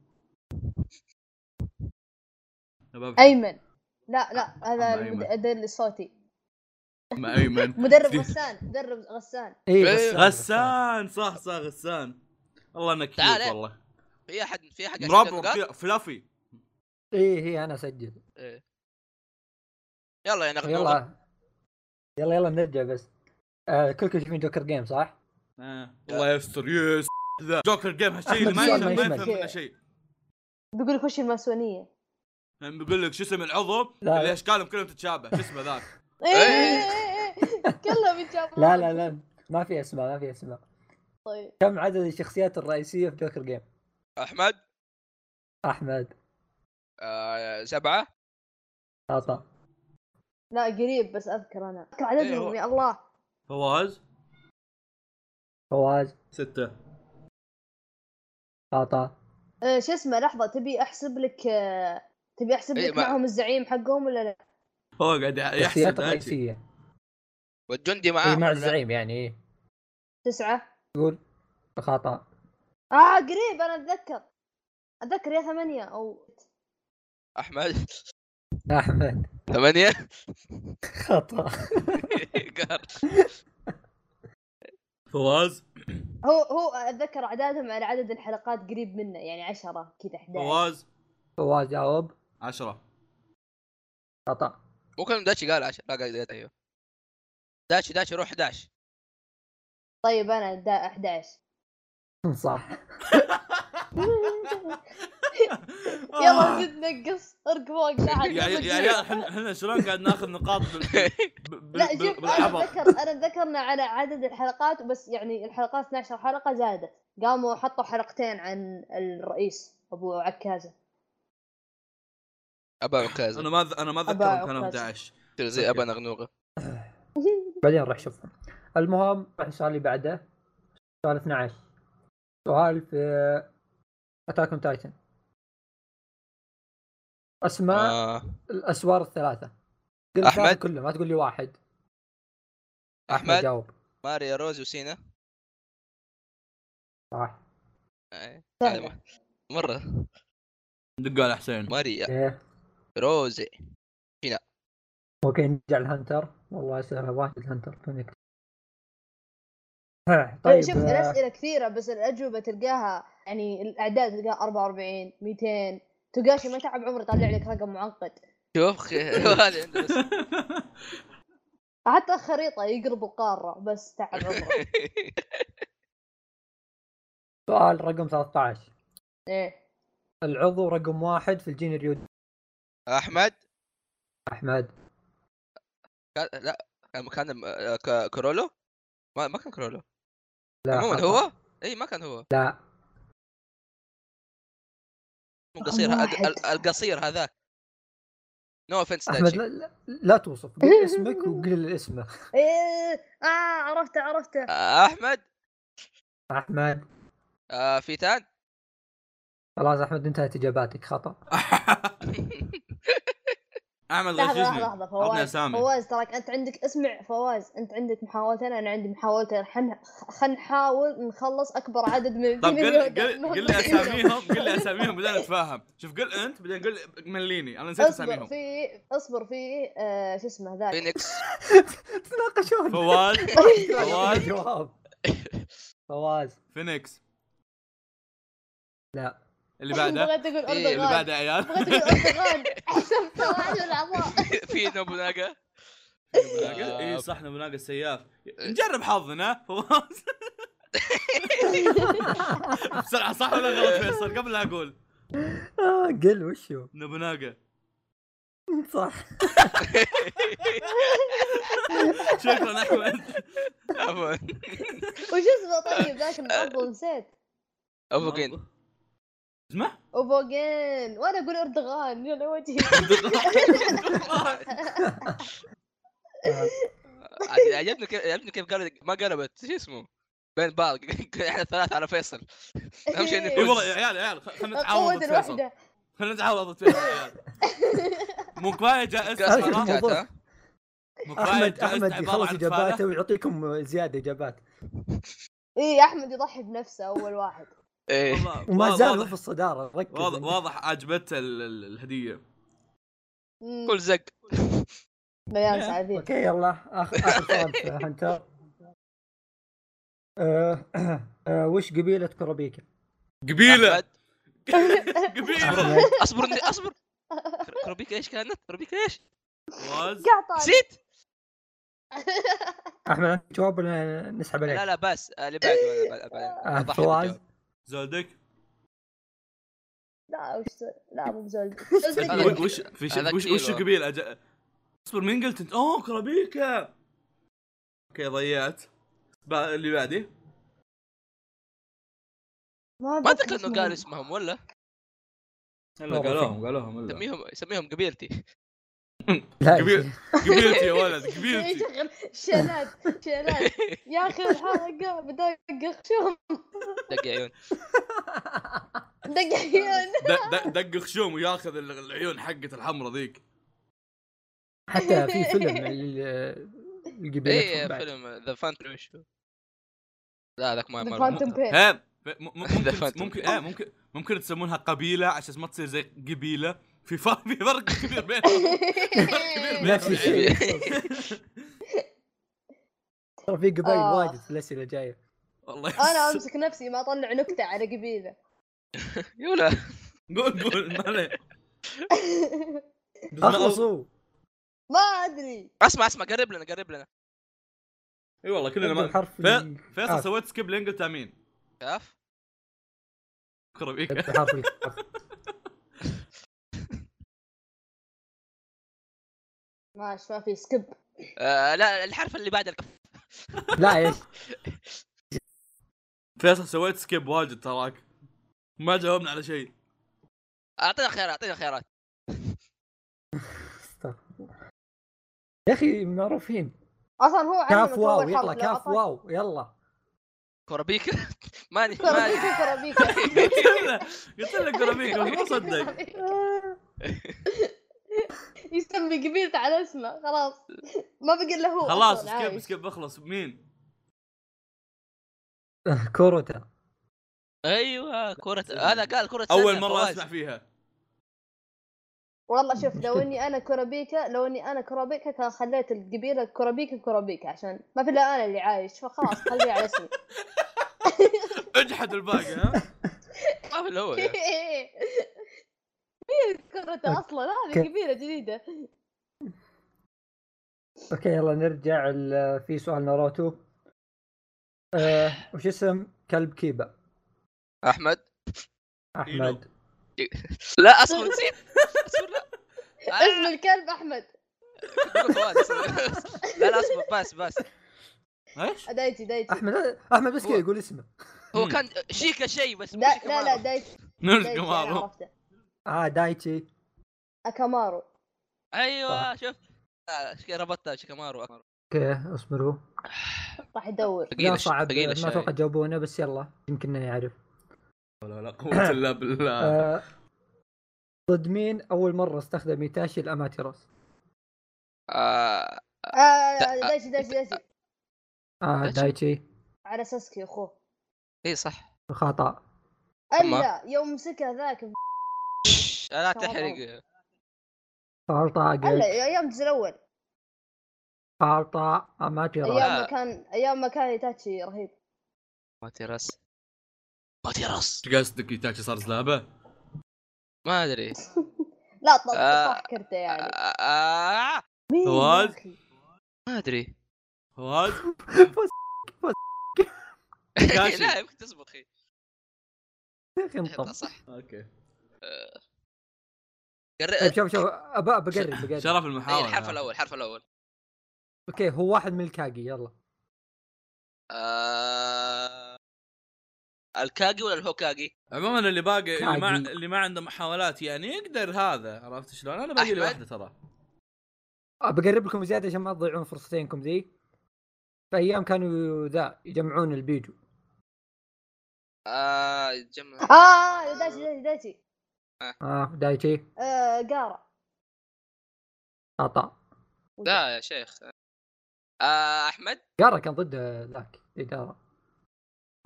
Speaker 3: يا باب.
Speaker 4: ايمن لا لا هذا
Speaker 3: أما أيمن.
Speaker 4: المد- هذا اللي صوتي
Speaker 3: ما ايمن
Speaker 4: مدرب
Speaker 3: دي-
Speaker 4: غسان مدرب غسان
Speaker 2: ايه
Speaker 3: غسان صح صح غسان والله انك كيوت
Speaker 1: تعال.
Speaker 3: والله
Speaker 1: في احد في احد قاعد يسجل
Speaker 3: مربع
Speaker 1: نقاط؟
Speaker 3: كذا فلافي
Speaker 2: ايه ايه انا اسجل
Speaker 1: يلا يا لغنوغه
Speaker 2: يلا يلا يلا نرجع بس آه كلكم شايفين جوكر جيم صح؟
Speaker 3: آه، الله يستر يس ذا جوكر جيم هالشيء اللي ما
Speaker 2: أحمد سؤال ما
Speaker 3: يفهم ما يفهم
Speaker 4: يسمع.
Speaker 3: منه شيء
Speaker 4: بيقول لك وش الماسونيه
Speaker 3: يعني بيقول لك شو اسم العضو
Speaker 2: لا.
Speaker 3: اللي اشكالهم كلهم تتشابه شو اسمه ذاك
Speaker 4: إيه، إيه، إيه، إيه. كلهم يتجاوبون
Speaker 2: لا لا لا ما في اسماء ما في اسماء
Speaker 4: طيب
Speaker 2: كم عدد الشخصيات الرئيسيه في جوكر جيم؟
Speaker 1: احمد
Speaker 2: احمد
Speaker 1: آه، سبعه
Speaker 2: عطا
Speaker 4: لا قريب بس اذكر انا اذكر
Speaker 1: إيه، هو-
Speaker 4: عددهم يا الله
Speaker 3: فواز
Speaker 2: فواز
Speaker 3: ستة
Speaker 2: عطا
Speaker 4: آه، شو اسمه لحظه تبي احسب لك آه، تبي احسب
Speaker 1: إيه،
Speaker 4: لك
Speaker 1: ما-
Speaker 4: معهم الزعيم حقهم ولا لا؟
Speaker 3: هو قاعد
Speaker 2: الشخصيات
Speaker 3: يحسب هاجي.
Speaker 2: الرئيسيه
Speaker 1: والجندي معاه
Speaker 2: إيه، مع الزعيم يعني إيه.
Speaker 4: تسعه
Speaker 2: يقول خطا
Speaker 4: اه قريب انا اتذكر اتذكر يا ثمانيه او
Speaker 1: احمد
Speaker 2: احمد
Speaker 1: ثمانية
Speaker 2: خطا
Speaker 1: قهر.
Speaker 3: فواز
Speaker 4: هو هو اتذكر اعدادهم على عدد الحلقات قريب منه يعني 10 كذا 11
Speaker 3: فواز
Speaker 2: فواز جاوب
Speaker 3: عشرة
Speaker 2: خطا
Speaker 1: مو كان داشي قال عشان لا قال قال- ايوه داشي داشي روح 11
Speaker 4: طيب انا دا 11
Speaker 2: صح
Speaker 4: يلا زد نقص اركب فوق
Speaker 3: يا- آه.
Speaker 4: قاعد
Speaker 3: يا يا عيال احنا احنا شلون قاعد ناخذ نقاط بال- بال- بال-
Speaker 4: لا شوف انا
Speaker 3: بالعبط
Speaker 4: اتذكر انا اتذكرنا على عدد الحلقات بس يعني الحلقات 12 حلقه زادت قاموا حطوا حلقتين عن الرئيس ابو عكازه
Speaker 1: ابا عكازة
Speaker 3: انا ما أذ- انا ما
Speaker 4: أبا
Speaker 3: اتذكر كانوا
Speaker 4: عكاز.
Speaker 3: 11
Speaker 1: تصير زي ابا نغنوغه
Speaker 2: بعدين راح شوفهم المهم راح السؤال اللي بعده سؤال 12 سؤال في اتاك اون تايتن اسماء آه.
Speaker 1: آه.
Speaker 2: الاسوار الثلاثه قل
Speaker 1: أحمد.
Speaker 2: الثلاثة كلهم ما تقول لي واحد
Speaker 1: احمد
Speaker 2: جاوب
Speaker 1: ماريا روز وسينا
Speaker 2: صح
Speaker 1: آه،
Speaker 4: سهلة.
Speaker 1: هذا مره
Speaker 3: دقوا على حسين
Speaker 1: ماريا
Speaker 2: ايه
Speaker 1: روزي
Speaker 2: اوكي نرجع للهنتر والله اسئله واجد هنتر كونكت ها، طيب
Speaker 4: شوف
Speaker 2: آه،
Speaker 4: الاسئله كثيره بس الاجوبه تلقاها يعني الاعداد تلقاها 44 200 تقاشي ما تعب عمره يطلع لك رقم معقد
Speaker 1: شوف خي- هذا عنده بس.
Speaker 4: حتى الخريطه يقرب القاره بس تعب عمره
Speaker 2: سؤال رقم 13
Speaker 4: ايه
Speaker 2: العضو رقم واحد في الجين الريود
Speaker 1: احمد
Speaker 2: احمد
Speaker 1: كان لا كان كان آه، ك- كرولو ما ما كان كرولو
Speaker 2: لا
Speaker 1: عموما
Speaker 2: خطأ.
Speaker 1: هو اي ما كان هو
Speaker 2: لا
Speaker 1: مو قصير
Speaker 4: رقم
Speaker 1: ال- ال-
Speaker 4: واحد.
Speaker 1: القصير هذاك نو اوفنس
Speaker 2: احمد لا, لا, لا توصف قل اسمك وقل اسمه
Speaker 4: ايه اه عرفته عرفته
Speaker 1: احمد
Speaker 2: احمد
Speaker 1: آه، فيتان
Speaker 2: خلاص احمد انتهت اجاباتك خطا
Speaker 3: احمد
Speaker 4: لحظة
Speaker 3: غششني
Speaker 4: لحظة لحظة
Speaker 3: عطني
Speaker 4: فواز
Speaker 3: اسامي
Speaker 4: فواز تراك أنت عندك اسمع فواز أنت عندك محاولتين أنا عندي محاولتين خلينا خلينا نحاول نخلص أكبر عدد من
Speaker 3: طب
Speaker 4: من
Speaker 3: قل
Speaker 4: الهدف.
Speaker 3: قل قل لي اساميهم قل لي اساميهم بعدين اتفاهم شوف قل انت بعدين قل مليني انا نسيت
Speaker 4: اصبر
Speaker 3: اساميهم
Speaker 4: في اصبر في آه شو اسمه ذاك
Speaker 1: فينيكس
Speaker 2: تناقشون
Speaker 3: فواز فواز.
Speaker 2: جواب فواز
Speaker 3: فينيكس
Speaker 2: لا.
Speaker 3: اللي بعده
Speaker 4: بغيت أقول
Speaker 1: إيه،
Speaker 3: اللي
Speaker 4: أردوغان
Speaker 3: بعده يا عيال
Speaker 4: بغيت أقول أردوغان حسب فواز الأعضاء
Speaker 1: في نوبوناغا
Speaker 3: نبوناقة. اي إيه، صح نبوناقة السياف نجرب حظنا فواز بسرعة صح ولا غلط فيصل قبل لا اقول
Speaker 2: آه، قل وشو
Speaker 3: نبوناقة
Speaker 2: صح
Speaker 3: شكرا احمد
Speaker 1: عفوا
Speaker 4: وش اسمه طيب ذاك المعضل نسيت
Speaker 1: افوكين
Speaker 3: اسمع
Speaker 4: أوبوجين وأنا أقول أردوغان يلا وجهي
Speaker 2: آه،
Speaker 1: عاد- عجبني كيف عجبني كيف قال ما قلبت شو اسمه بين بعض احنا ثلاثة على فيصل أهم شيء إني
Speaker 3: اي إيه، والله يا عيال يا عيال خلينا
Speaker 4: قوة
Speaker 3: نتعاوض فيصل
Speaker 4: الوحدة
Speaker 3: خلينا نتعاول فيصل يا عيال مو كفايه جائزة
Speaker 2: قاعد
Speaker 1: قاعد-
Speaker 2: يكون
Speaker 3: ترى.
Speaker 1: قاعد-
Speaker 2: موضوع.
Speaker 1: ها؟
Speaker 3: مو كفاية
Speaker 2: احمد
Speaker 3: جائزة
Speaker 2: احمد
Speaker 3: عبارة
Speaker 2: يخلص
Speaker 3: عن فالة.
Speaker 2: اجاباته ويعطيكم زياده اجابات
Speaker 4: إيه أحمد يضحي بنفسه أول واحد
Speaker 1: إيه.
Speaker 3: والله
Speaker 2: وما
Speaker 3: واضح-
Speaker 2: زال هو في الصداره
Speaker 3: واضح
Speaker 2: ركز
Speaker 3: واضح عجبته ال- ال- الهديه
Speaker 4: مم،
Speaker 1: كل زق
Speaker 4: مليان سعيدين
Speaker 2: اوكي يلا اخر اخر سؤال في هنتر آه، آه، وش قبيله كروبيكا؟
Speaker 3: قبيله
Speaker 1: أحمد.
Speaker 3: قبيله
Speaker 2: أحمد.
Speaker 1: اصبر إني- اصبر روبيكا ايش كانت؟ روبيكا ايش؟
Speaker 3: فواز
Speaker 4: قاعد
Speaker 1: نسيت؟
Speaker 2: احمد عندك جواب ولا نسحب
Speaker 1: لا
Speaker 2: عليك؟
Speaker 1: لا بس آه، اللي بعده اللي بعده- بعدين.
Speaker 2: آه،
Speaker 1: أضحي
Speaker 2: فواز
Speaker 1: بالجواب.
Speaker 3: زودك
Speaker 4: لا وش سو- لا مو بزوج
Speaker 1: هذا
Speaker 3: و- وش في
Speaker 1: هذا
Speaker 3: ش- وش
Speaker 1: كيلو.
Speaker 3: وش قبيله أج- اصبر مين قلت انت؟ اوه كرابيكا اوكي ضيعت با- اللي بعدي
Speaker 1: ما اتذكر انه قال اسمهم ولا
Speaker 3: هلا قالوهم قالوهم هلا.
Speaker 1: سميهم سميهم قبيلتي
Speaker 2: لا
Speaker 3: قبيلة. قبيلتي يا ولد قبيلتي
Speaker 4: يشغل شيلات شيلات يا اخي الحلقه بدأ يقشهم
Speaker 1: دق عيون
Speaker 4: دق عيون
Speaker 3: د- د- دق خشوم وياخذ ال- العيون حقت الحمرة ذيك
Speaker 2: حتى في فيلم ال- القبيلة
Speaker 1: اي
Speaker 2: بعد.
Speaker 1: إيه، فيلم ذا فانتوم شو لا ذاك ما
Speaker 4: ذا
Speaker 1: ما
Speaker 4: فانتوم بين
Speaker 3: ها ب- م- م-
Speaker 1: The
Speaker 3: ممكن
Speaker 1: Phantom.
Speaker 3: ممكن آه ممكن ممكن تسمونها قبيلة عشان ما تصير زي قبيلة في فرق في فرق كبير بينهم كبير بينهم.
Speaker 2: نفس الشيء ترى في قبائل
Speaker 4: آه.
Speaker 2: واجد في الاسئله الجايه
Speaker 3: والله
Speaker 4: انا امسك نفسي ما اطلع نكته على قبيله
Speaker 1: يولا
Speaker 3: قول قول ما عليه. بس أنا أول-
Speaker 2: اخلصوا
Speaker 4: ما ادري
Speaker 1: اسمع اسمع قرب لنا قرب لنا
Speaker 3: اي والله كلنا
Speaker 2: ابدأ
Speaker 3: ما
Speaker 2: بحرف
Speaker 3: ف-
Speaker 2: ال-
Speaker 3: فيصل
Speaker 2: آه.
Speaker 3: سويت سكيب لانجلتا مين؟
Speaker 1: شاف
Speaker 3: كره بيك
Speaker 2: ابدأ بحرف الكاف.
Speaker 4: ماشي ما في سكيب
Speaker 1: آه لا الحرف اللي بعد الكف
Speaker 2: لا يا
Speaker 3: فيصل سويت سكيب واجد تراك ما جاوبنا على شيء
Speaker 1: اعطينا خيارات اعطينا خيارات
Speaker 2: يا اخي معروفين
Speaker 4: اصلا هو علمك
Speaker 2: كاف
Speaker 4: أول
Speaker 2: واو
Speaker 4: حرف،
Speaker 2: يلا
Speaker 4: لا
Speaker 2: كاف
Speaker 4: أصلاً.
Speaker 2: واو يلا
Speaker 1: كورابيك ماني ماني
Speaker 4: كرابيكا كرابيكا
Speaker 3: قلت له قلت له كره بيك هو ما صدق
Speaker 4: يسمي قبيلته على اسمه خلاص ما بقى الا هو
Speaker 3: خلاص
Speaker 4: أصلاً عايش.
Speaker 3: سكيب سكيب اخلص مين؟
Speaker 2: آه، كوروتا
Speaker 1: ايوه كرة هذا قال كرة
Speaker 3: اول
Speaker 1: سلة،
Speaker 3: مره
Speaker 1: فواز.
Speaker 3: اسمع فيها
Speaker 4: والله شوف لو اني انا كرابيكا لو اني انا كرابيكا كان خليت القبيله كرابيكا كرابيكا عشان ما في الا انا اللي عايش فخلاص خليه على اسمي
Speaker 3: اجحد الباقي ها
Speaker 1: ما في الاول يا.
Speaker 4: مين كرته اصلا هذه
Speaker 2: أوكي.
Speaker 4: قبيله جديده
Speaker 2: اوكي يلا نرجع ال- في سؤال ناروتو أه وش اسم كلب كيبا
Speaker 1: احمد
Speaker 3: إينو.
Speaker 2: احمد
Speaker 1: لا اصبر نسيت اصبر لا
Speaker 4: اسم الكلب احمد
Speaker 1: أنا- فواز، أصبر. لا لا اصبر بس بس
Speaker 3: ايش؟
Speaker 4: دايتي دايتي
Speaker 2: احمد احمد بس كذا يقول اسمه
Speaker 1: هو
Speaker 3: مم.
Speaker 1: كان شيكا شيء بس مو
Speaker 4: دا
Speaker 1: شيكا
Speaker 4: لا
Speaker 1: ما
Speaker 4: لا
Speaker 1: أعرف.
Speaker 4: دايتي
Speaker 3: نرجع
Speaker 4: دايتي أنا
Speaker 3: كمارو
Speaker 4: عرفته
Speaker 2: اه دايتشي
Speaker 4: اكامارو
Speaker 1: ايوه شوف آه، شي- ربطتها شيكامارو
Speaker 2: اوكي اصبروا
Speaker 4: راح يدور
Speaker 2: لا
Speaker 1: ثقيلة
Speaker 2: صعب
Speaker 1: ثقيلة
Speaker 2: ما اتوقع
Speaker 1: شوي.
Speaker 2: تجاوبونه بس يلا يمكن اني اعرف
Speaker 3: لا لا قوه الا بالله
Speaker 2: آه، ضد مين اول مره استخدم ايتاشي الاماتيراس
Speaker 1: آه،
Speaker 4: آه دايتي دايتي دايتي
Speaker 2: اه
Speaker 1: دايتشي.
Speaker 2: دايتشي
Speaker 4: على ساسكي اخوه
Speaker 1: اي إيه، صح
Speaker 2: خطا
Speaker 4: الا يوم مسكها ذاك ب-
Speaker 1: لا
Speaker 4: شو وضعه؟
Speaker 1: تحرق
Speaker 2: غلطه
Speaker 4: الا ايام الجزء الاول
Speaker 2: غلطه اماتيراس
Speaker 4: ايام
Speaker 3: آه.
Speaker 4: ما كان ايام ما كان ايتاتشي رهيب
Speaker 1: ما تيرس ما تيرس
Speaker 3: ايش قصدك يتاكي صار زلابه؟
Speaker 1: ما ادري
Speaker 4: لا طب
Speaker 1: آه.
Speaker 4: صح كرته يعني
Speaker 1: آه، آه،
Speaker 4: مين يا
Speaker 3: فواز؟
Speaker 4: أخي؟
Speaker 1: ما ادري
Speaker 3: فواز كاشي.
Speaker 1: لا يمكن تزبط اخي
Speaker 2: يا اخي انطب
Speaker 1: صح
Speaker 3: اوكي
Speaker 2: طيب
Speaker 1: قرب
Speaker 2: شوف آه. شوف ابى بقرب بقرب
Speaker 3: شرف المحاوله
Speaker 1: إيه، الحرف الاول الحرف الاول
Speaker 2: اوكي هو واحد من الكاجي يلا
Speaker 1: آه، الكاجي ولا الهوكاجي؟
Speaker 3: عموما اللي باقي اللي ما
Speaker 2: عادي.
Speaker 3: اللي ما عنده محاولات يعني يقدر هذا عرفت شلون؟ انا باقي
Speaker 1: أحمد.
Speaker 3: لي واحده ترى
Speaker 2: بقرب لكم زياده عشان ما تضيعون فرصتينكم ذي فايام كانوا ذا يجمعون البيجو
Speaker 1: آه، جمع
Speaker 4: اه دايتي دايتي دايتي
Speaker 2: اه دايتشي
Speaker 4: آه قارة
Speaker 2: خطا
Speaker 1: لا يا شيخ آه، احمد
Speaker 2: جارة كان ضد ذاك جارة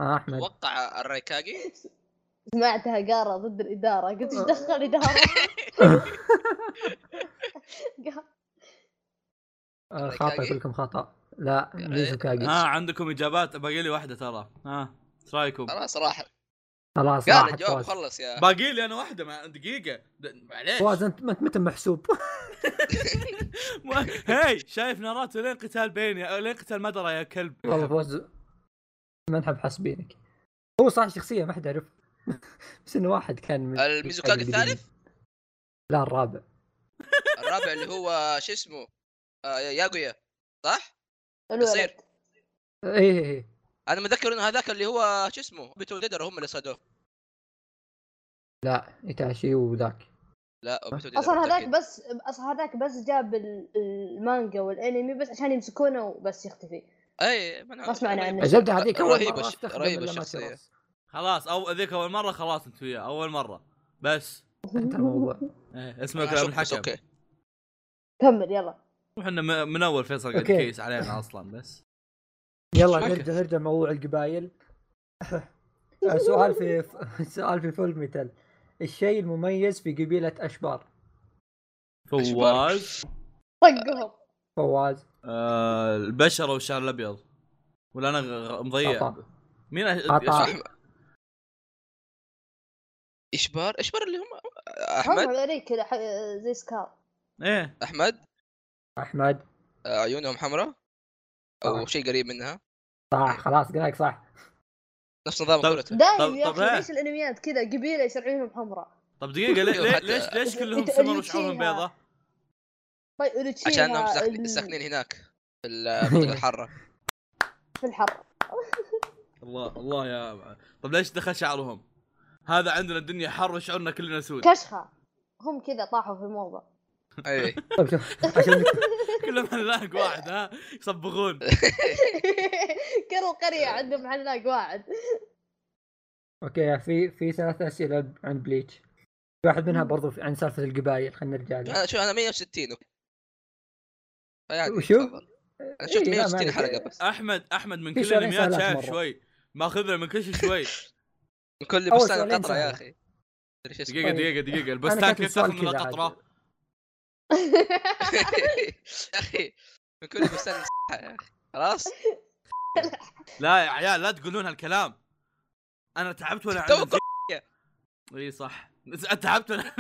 Speaker 2: آه احمد
Speaker 1: توقع الرايكاجي
Speaker 4: سمعتها قارة ضد الإدارة قلت ايش دخل الإدارة قا-
Speaker 1: كاجي؟ يعني آه.
Speaker 2: آه خطا كلكم خطا لا ليش كاجي
Speaker 3: ها عندكم اجابات باقي لي واحده ترى ها ايش رايكم؟
Speaker 1: خلاص راح
Speaker 2: خلاص
Speaker 1: قال
Speaker 2: راحت
Speaker 1: الجواب
Speaker 2: فواز
Speaker 1: خلص يا
Speaker 3: باقي لي انا واحده مع دقيقه د-
Speaker 2: فواز
Speaker 3: معليش
Speaker 2: انت ما انت متى محسوب
Speaker 3: ما- هاي شايف ناراتو لين قتال بيني أو لين قتال مدرة يا كلب
Speaker 2: والله فواز ما نحب حاسبينك هو صح شخصية ما حد يعرف بس انه واحد كان من
Speaker 1: الميزوكاج
Speaker 2: القديم.
Speaker 1: الثالث؟
Speaker 2: لا الرابع
Speaker 1: الرابع اللي هو شو اسمه؟ آه، ياغويا صح؟
Speaker 4: الولد
Speaker 1: يصير.
Speaker 2: ايه ايه ايه
Speaker 1: انا متذكر انه هذاك اللي هو شو اسمه؟ بيتو ديدر هم اللي صادوه
Speaker 2: لا ايتاشي وذاك
Speaker 1: لا بيتو ديدر
Speaker 4: اصلا
Speaker 1: متأكد.
Speaker 4: هذاك بس اصلا هذاك بس جاب ال- المانجا والانمي بس عشان يمسكونه وبس يختفي
Speaker 1: اي ما أنا-
Speaker 4: غصباً عن
Speaker 1: إيه، ما
Speaker 4: عنه.
Speaker 1: يمكن.
Speaker 2: الزبدة إيه، هذيك أول
Speaker 1: رهيبة
Speaker 2: مرة
Speaker 1: الش-
Speaker 2: استخدم
Speaker 1: رهيبة
Speaker 2: الأماتيراس.
Speaker 1: الشخصية.
Speaker 3: خلاص او ذيك اول مره خلاص انت وياه اول مره بس
Speaker 2: انت الموضوع
Speaker 3: إيه اسمه كلام الحكم
Speaker 1: اوكي
Speaker 4: كمل يلا
Speaker 3: احنا م- من اول فيصل قاعد
Speaker 2: أوكي.
Speaker 3: كيس علينا اصلا بس
Speaker 2: يلا
Speaker 1: شكرا.
Speaker 2: نرجع نرجع موضوع القبائل آه، سؤال في سؤال في فول ميتال الشيء المميز في قبيلة أشبار
Speaker 3: فواز
Speaker 4: طقهم
Speaker 2: فواز
Speaker 3: آه البشره والشعر الابيض ولا انا غ- غ-
Speaker 1: طيب.
Speaker 3: مضيع
Speaker 2: عطاء.
Speaker 3: مين أش...
Speaker 2: عطاء.
Speaker 3: أش-
Speaker 1: اشبار اشبار اللي هم
Speaker 4: هم
Speaker 1: احمد
Speaker 4: هذوليك كذا ح- زي سكار
Speaker 3: ايه
Speaker 1: احمد
Speaker 2: أحمد
Speaker 1: آه، عيونهم حمراء او
Speaker 2: آه.
Speaker 1: شيء قريب منها طيب.
Speaker 2: صح خلاص قراك صح
Speaker 1: نفس نظام
Speaker 3: طب-
Speaker 1: قولته
Speaker 3: طب-
Speaker 4: دايم يا
Speaker 3: طب
Speaker 4: اخي
Speaker 3: إيه؟
Speaker 4: ليش الانميات كذا قبيله يصير عيونهم حمراء
Speaker 3: طب دقيقه ليه- ليه-
Speaker 1: حتى-
Speaker 3: ليش ليش كلهم
Speaker 4: أنت-
Speaker 3: سمر
Speaker 4: اللي
Speaker 3: وشعورهم
Speaker 4: فيها.
Speaker 3: بيضة؟
Speaker 4: طيب أوروتشيها
Speaker 1: عشان هم ساكن-
Speaker 4: ال-
Speaker 1: ساكنين هناك في المنطقه الحاره
Speaker 4: في الحر
Speaker 3: الله الله يا طب ليش دخل شعرهم؟ هذا عندنا الدنيا حر وشعورنا كلنا سود
Speaker 4: كشخه هم كذا طاحوا في الموضه
Speaker 1: اي
Speaker 2: طيب شوف عشان
Speaker 3: كلهم حلاق واحد ها يصبغون
Speaker 4: كل القريه عندهم حلاق واحد
Speaker 2: اوكي في في ثلاث أسئلة عن بليتش في واحد منها برضو في- عن سالفة القبائل خلينا نرجع لها
Speaker 1: انا شو انا 160 أوكي. فيعني
Speaker 2: وشو؟
Speaker 1: تفضل. انا شفت
Speaker 2: إيه، لا، ما
Speaker 1: 160
Speaker 2: عليك.
Speaker 1: حلقه بس
Speaker 3: احمد احمد من
Speaker 2: في
Speaker 3: كل
Speaker 2: سؤالين
Speaker 3: الانميات
Speaker 2: سهلات
Speaker 3: شايف
Speaker 2: مرة.
Speaker 3: شوي ماخذنا من كل شيء شوي
Speaker 1: من كل
Speaker 2: أول
Speaker 1: بستان
Speaker 2: سؤالين
Speaker 1: قطره يا
Speaker 2: سهلة.
Speaker 1: اخي أدري شو اسمه.
Speaker 3: دقيقه
Speaker 2: طيب.
Speaker 3: دقيقه دقيقه
Speaker 2: أنا
Speaker 3: البستان
Speaker 2: كاتب
Speaker 3: كيف
Speaker 2: سؤال
Speaker 3: تاخذ منها
Speaker 2: كذا عاد.
Speaker 3: قطره؟
Speaker 1: يا اخي من كل بستان مسحة يا اخي خلاص
Speaker 3: لا يا عيال لا تقولون هالكلام انا تعبت وانا
Speaker 1: تو
Speaker 3: عندي اي صح تعبت وانا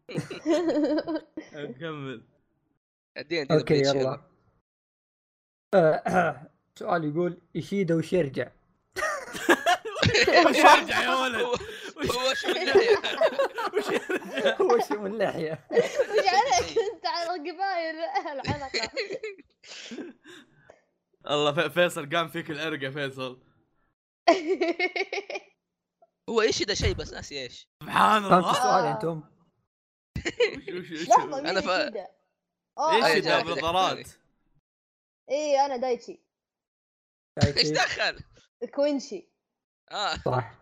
Speaker 3: نكمل
Speaker 1: اديني اديني
Speaker 2: اوكي
Speaker 1: بليتش،
Speaker 2: يلا آه، سؤال يقول إيشيدا وش يرجع
Speaker 3: وش يرجع يا ولد؟
Speaker 1: هو هو شو النهاية؟
Speaker 3: وش يرجع؟
Speaker 2: هو شيء من لحية
Speaker 4: ايش عليك انت على القبائل الحلقه
Speaker 3: الله في- فيصل قام فيك العرق يا فيصل
Speaker 1: هو ايش ده شيء بس ناسي ايش
Speaker 3: سبحان
Speaker 2: فهمت
Speaker 3: الله
Speaker 2: السؤال انتم؟
Speaker 3: وش- وش-
Speaker 4: لحظه
Speaker 1: أنا
Speaker 4: مين
Speaker 1: فا-
Speaker 4: كذا
Speaker 1: أي
Speaker 3: ايش
Speaker 1: آه، جاي
Speaker 3: ذا
Speaker 1: جاي.
Speaker 3: بالضرات؟
Speaker 4: اي انا إيه، دايتشي
Speaker 1: ايش دخل؟
Speaker 4: كوينشي
Speaker 1: اه
Speaker 2: صح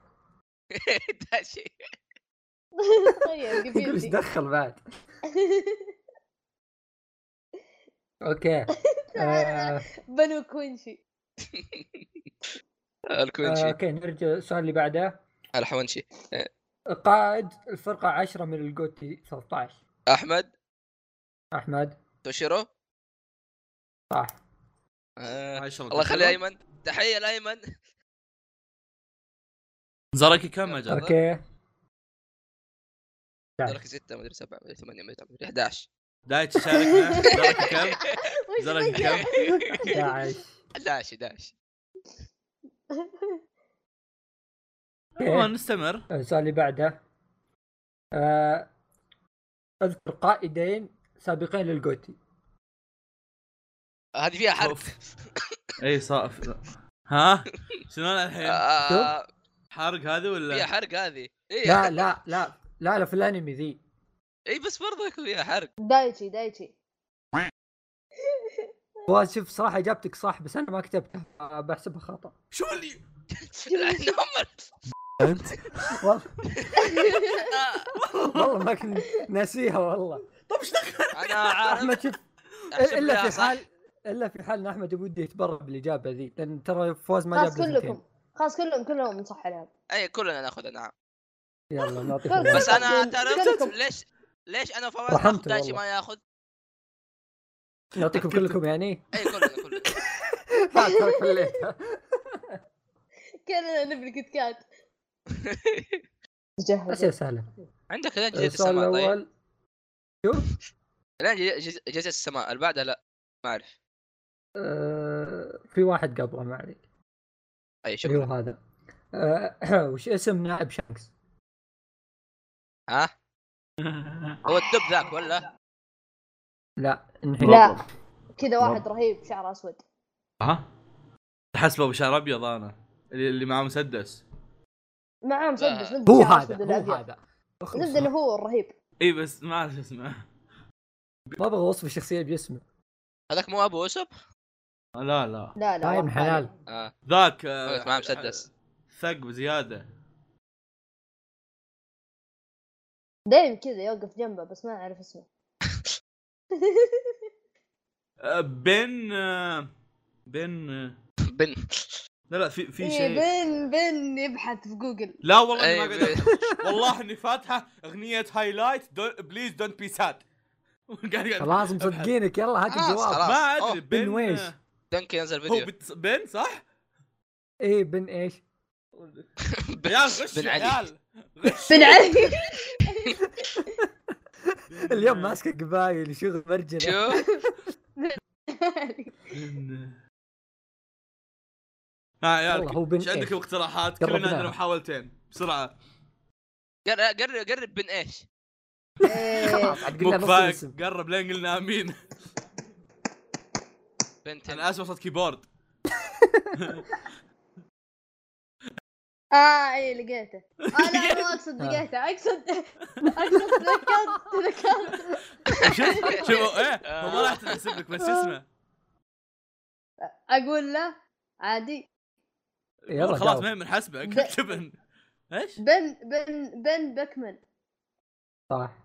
Speaker 1: ده شيء
Speaker 4: طيب
Speaker 2: يقول ايش
Speaker 4: قبيلتي
Speaker 2: دخل بعد اوكي آه،
Speaker 4: بنو كوينشي
Speaker 2: آه،
Speaker 1: الكونشي
Speaker 2: اوكي نرجع السؤال اللي بعده
Speaker 1: الحونشي
Speaker 2: قائد الفرقة 10 من الجوتي 13
Speaker 1: احمد
Speaker 2: احمد
Speaker 1: توشيرو
Speaker 2: صح
Speaker 1: آه.
Speaker 3: عشرة
Speaker 1: الله يخلي
Speaker 3: كلهم.
Speaker 1: ايمن تحيه لايمن
Speaker 2: آه.
Speaker 3: زركي كم اجل؟
Speaker 1: أوكي.
Speaker 2: اوكي
Speaker 1: درك 6 مدري 7 مدري 8 مدري 11
Speaker 3: دايتش شاركنا زركي كم؟
Speaker 4: وش
Speaker 3: زركي
Speaker 4: ذا؟
Speaker 3: كم؟
Speaker 2: 11
Speaker 1: 11 11
Speaker 3: عموما
Speaker 6: إيه.
Speaker 3: نستمر
Speaker 2: السؤال اللي بعده آه، اذكر قائدين سابقين للجوتي
Speaker 1: هذه فيها حرق
Speaker 3: أوف. اي إيه، صاف ها؟ شنو أنا الحين؟
Speaker 1: آه،
Speaker 3: حرق هذه
Speaker 1: فيها
Speaker 3: ولا؟
Speaker 1: حرق هذه إيه،
Speaker 2: لا
Speaker 1: اي
Speaker 2: لا لا لا لا في الانمي ذي
Speaker 1: اي إيه، بس برضه يكون فيها حرق
Speaker 4: دايتشي دايتشي
Speaker 2: فواز شوف صراحه اجابتك صح بس انا ما كتبتها آه، بحسبها خطا
Speaker 3: شو اللي
Speaker 1: لأن هم-
Speaker 2: والله والله ما كنت ناسيها والله
Speaker 1: انا عارف
Speaker 2: احمد شوف
Speaker 1: أحسب
Speaker 2: الا
Speaker 1: لها
Speaker 2: في
Speaker 1: صح.
Speaker 2: حال الا في حال ان احمد بودي يتبرع بالاجابه ذي لان ترى فواز ما جاب
Speaker 4: خلاص
Speaker 2: له ثنتين.
Speaker 4: كلكم خلاص كلهم كلهم صح عليهم
Speaker 1: اي كلنا ناخذها نعم
Speaker 2: يلا نعطي
Speaker 4: خلاص.
Speaker 2: فواز.
Speaker 1: بس انا
Speaker 4: كلكم-
Speaker 1: اعترفت
Speaker 4: كلكم.
Speaker 1: ليش ليش انا فواز
Speaker 2: رحمته
Speaker 1: ناخذ دايتشي
Speaker 2: والله.
Speaker 1: ما ياخذ
Speaker 2: نعطيكم كلكم يعني
Speaker 1: اي إيه، كلنا كلنا
Speaker 2: بعد ترى خليتها
Speaker 4: كاننا نبي الكيت كات جهز
Speaker 2: اسئله سهله
Speaker 1: عندك الان جزيره
Speaker 2: السؤال
Speaker 1: السماء طيب
Speaker 2: الاول شوف
Speaker 1: الان جز- جز- جزيره السماء اللي بعدها لا ما اعرف
Speaker 2: آه، في واحد قبله ما عليك
Speaker 1: اي شوف
Speaker 2: اللي هو هذا آه، وش اسم نائب شانكس؟
Speaker 1: ها هو الدب ذاك ولا
Speaker 2: لا انهي
Speaker 4: لا كذا واحد رهيب شعره اسود
Speaker 3: ها؟ حسبه بشعر ابيض انا اللي اللي معاه مسدس
Speaker 4: معاه مسدس ضد
Speaker 2: هو
Speaker 4: شعره
Speaker 2: هذا
Speaker 4: أسود
Speaker 2: هو
Speaker 4: الأبيض.
Speaker 2: هذا أخلص.
Speaker 4: ضد انه هو الرهيب
Speaker 3: اي بس ما اعرف شو اسمه
Speaker 2: ما ابغى وصف الشخصيه باسمه
Speaker 1: هذاك مو ابو يوسف
Speaker 3: لا لا
Speaker 4: لا لا
Speaker 2: طيب
Speaker 4: واحد
Speaker 2: حلال.
Speaker 4: ثاني.
Speaker 1: اه
Speaker 3: ذاك
Speaker 1: هو
Speaker 3: آه،
Speaker 1: معاه مسدس
Speaker 3: ثق بزياده
Speaker 4: دايم كذا يوقف جنبه بس ما اعرف اسمه
Speaker 3: آه، بين آه، بين آه،
Speaker 1: بن
Speaker 3: لا لا في في
Speaker 4: إيه،
Speaker 3: شيء
Speaker 4: بن بن يبحث في جوجل
Speaker 3: لا والله إني
Speaker 1: إيه،
Speaker 3: ما قدرت والله اني فاتحه اغنيه هايلايت بليز دونت بي ساد
Speaker 6: خلاص مصدقينك يلا هات
Speaker 1: خلاص،
Speaker 6: الجواب
Speaker 1: خلاص.
Speaker 3: ما ادري
Speaker 1: أوه،
Speaker 3: بن
Speaker 6: بن ويش؟
Speaker 3: آه،
Speaker 1: دنكن ينزل
Speaker 3: هو
Speaker 1: فيديو
Speaker 3: بت- بن صح؟
Speaker 2: إيه،
Speaker 6: ايه بن ايش؟
Speaker 1: بن-
Speaker 3: يا غش
Speaker 1: بن
Speaker 3: يا
Speaker 1: علي.
Speaker 3: عيال
Speaker 4: بن علي
Speaker 6: اليوم ماسكه قبايل شغل مرجله
Speaker 1: شوف
Speaker 3: ها يا
Speaker 6: والله هو
Speaker 3: عيال
Speaker 6: بن
Speaker 3: ايش عندكم
Speaker 6: إيش؟
Speaker 3: اقتراحات؟ كلنا
Speaker 6: جربناها.
Speaker 3: عندنا محاولتين بسرعه
Speaker 1: قرب قرب- قرب بن ايش
Speaker 4: إيه،
Speaker 6: خلاص عاد
Speaker 3: مو
Speaker 6: قلنا نص الاسم
Speaker 3: كفاية، قرب لين قلنا امين
Speaker 1: بنت
Speaker 3: انا اسف صوت كيبورد
Speaker 4: اه اي لقيته اه لا مو
Speaker 2: آه.
Speaker 4: اقصد لقيته اقصد اقصد تذكرت تذكرت
Speaker 3: شوف شوف ايه هو ما راح تحسب لك بس شو اسمه
Speaker 4: اقول له عادي
Speaker 6: يلا
Speaker 3: خلاص
Speaker 6: جاوب.
Speaker 3: ما هي من حسبك
Speaker 4: ب-
Speaker 3: جبن ايش؟
Speaker 4: بن بن بن بكمن
Speaker 6: صح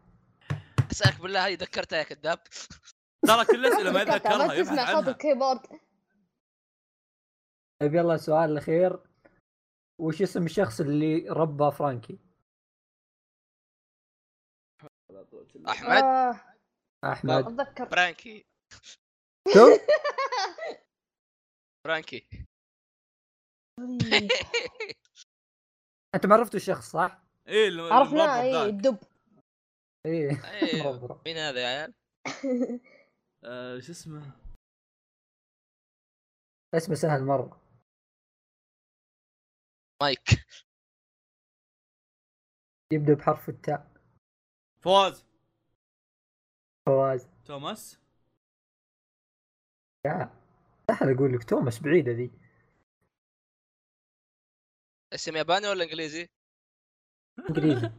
Speaker 1: اسالك بالله هذه ذكرتها يا كذاب
Speaker 3: ترى كل الاسئله ما
Speaker 4: ذكرتها،
Speaker 3: يتذكرها
Speaker 4: ما
Speaker 3: يبحث
Speaker 4: تسمع صوت
Speaker 3: عنها
Speaker 4: الكيبورد
Speaker 2: طيب يلا السؤال الاخير وش اسم الشخص اللي ربى فرانكي؟
Speaker 1: احمد
Speaker 4: آه،
Speaker 2: احمد
Speaker 4: اتذكر
Speaker 1: فرانكي
Speaker 2: تو
Speaker 1: فرانكي
Speaker 4: إيه،
Speaker 2: انت ما عرفتوا الشخص صح؟
Speaker 3: ايه اللي-
Speaker 4: عرفناه
Speaker 3: الموظف
Speaker 4: اي
Speaker 3: ذاك.
Speaker 4: الدب
Speaker 2: ايه
Speaker 1: أيوه.
Speaker 2: مربرة.
Speaker 1: مين هذا يا عيال؟
Speaker 3: آه، شو اسمه؟
Speaker 2: اسمه سهل مره
Speaker 1: مايك
Speaker 2: يبدا بحرف التاء
Speaker 3: فواز
Speaker 2: فواز
Speaker 3: توماس
Speaker 2: يا سهل اقول لك توماس بعيده ذي
Speaker 1: اسم ياباني ولا انجليزي؟
Speaker 2: انجليزي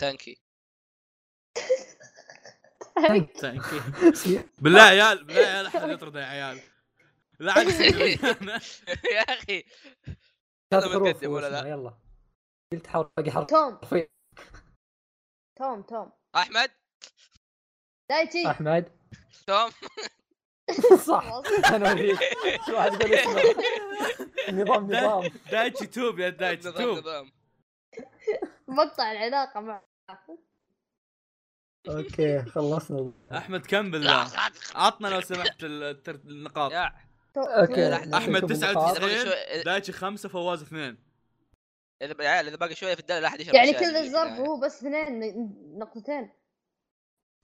Speaker 1: تانكي
Speaker 3: ثانك يو. بالله يا عيال بالله يا عيال احد يطرده يا عيال لا عاد يصير.
Speaker 1: يا اخي
Speaker 2: ثلاث
Speaker 1: ما
Speaker 2: حروف
Speaker 1: تقدم
Speaker 2: هو
Speaker 1: ولا لا. إيه.
Speaker 2: اسمه، يلا قلت حرف باقي حرف
Speaker 4: توم
Speaker 2: حرفين.
Speaker 4: توم توم
Speaker 1: احمد
Speaker 4: دايتي
Speaker 2: احمد
Speaker 1: توم
Speaker 2: صح انا اوريك شو واحد يقول اسمه نظام نظام
Speaker 3: دايتشي توب يا دايتشي
Speaker 1: نظام
Speaker 3: توب
Speaker 1: نظام
Speaker 4: مقطع العلاقه مع
Speaker 2: اوكي خلصنا
Speaker 3: احمد كم بالله عطنا لو سمحت ال- التر- النقاط
Speaker 1: يا
Speaker 4: توم. إيه.
Speaker 2: اوكي
Speaker 1: أحمد
Speaker 2: نعطيكم
Speaker 3: تسعة
Speaker 2: نقاط.
Speaker 1: اذا باقي شوي
Speaker 3: دايتشي خمسة فواز اثنين
Speaker 1: اذا يا عيال اذا باقي شويه في الداله لا احد يشرب
Speaker 4: يعني
Speaker 1: شاي.
Speaker 4: كل الظرف هو بس اثنين ن- نقطتين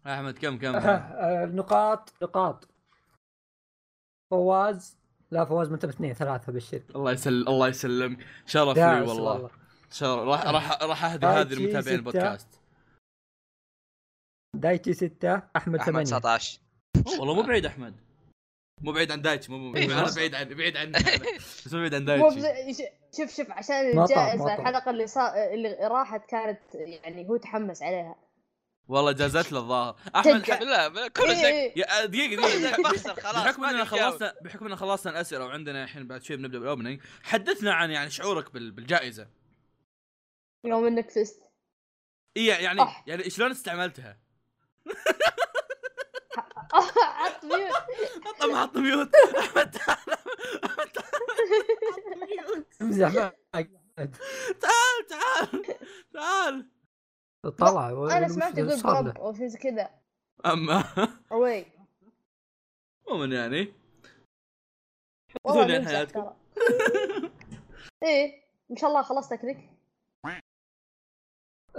Speaker 3: احمد كم كم
Speaker 2: آه، آه، نقاط نقاط فواز لا فواز ما انت باثنين ثلاثة بالشر
Speaker 3: الله يسلم الله يسلمك شرف لي
Speaker 2: داعس
Speaker 3: والله شرف راح راح راح اهدي هذه
Speaker 2: دايتشي ستة.
Speaker 3: لمتابعين البودكاست
Speaker 2: دايتي ستة أحمد
Speaker 1: احمد
Speaker 2: ثمانية
Speaker 1: 19
Speaker 3: أوه، والله مو بعيد احمد مو بعيد عن دايتشي مو مو
Speaker 1: إيه،
Speaker 3: انا
Speaker 1: خلاص.
Speaker 3: بعيد عن بعيد عن بس مو بعيد عن
Speaker 4: مو
Speaker 3: دايتشي
Speaker 4: بز- ش- شوف شوف عشان
Speaker 2: ما طاح،
Speaker 4: الجائزه
Speaker 2: ما طاح.
Speaker 4: الحلقه اللي صا... اللي راحت كانت يعني هو تحمس عليها
Speaker 3: والله جازت له الظاهر احمد
Speaker 4: جد.
Speaker 3: ح-
Speaker 1: بالله بالله كله
Speaker 4: إيه،
Speaker 1: زق
Speaker 4: إيه.
Speaker 3: يا دقيقه
Speaker 1: كله
Speaker 3: دقيقه
Speaker 1: زق بحصل خلاص
Speaker 3: بحكم
Speaker 1: ما
Speaker 3: اننا
Speaker 1: أدري أجاوب.
Speaker 3: خلصنا بحكم اننا خلصنا الاسئله وعندنا الحين بعد شوي بنبدا بالاوبننج حدثنا عن يعني شعورك بال- بالجائزه
Speaker 4: يوم انك فزت
Speaker 3: اي يعني
Speaker 4: أح.
Speaker 3: يعني شلون استعملتها؟
Speaker 4: عط ميوت
Speaker 3: حط ما حط ميوت احمد تعال أحمد،
Speaker 2: امزح معك
Speaker 3: تعال تعال تعال
Speaker 2: طلع
Speaker 4: انا
Speaker 2: وش-
Speaker 4: سمعت
Speaker 2: وش
Speaker 4: يقول
Speaker 2: صار له؟
Speaker 4: جرب او شيء زي كذا
Speaker 3: اما
Speaker 4: اوي
Speaker 3: عموما يعني
Speaker 4: والله
Speaker 3: بدون عن
Speaker 4: ممزح
Speaker 3: حياتكم.
Speaker 4: ترى. ايه ان شاء الله خلصت اكلك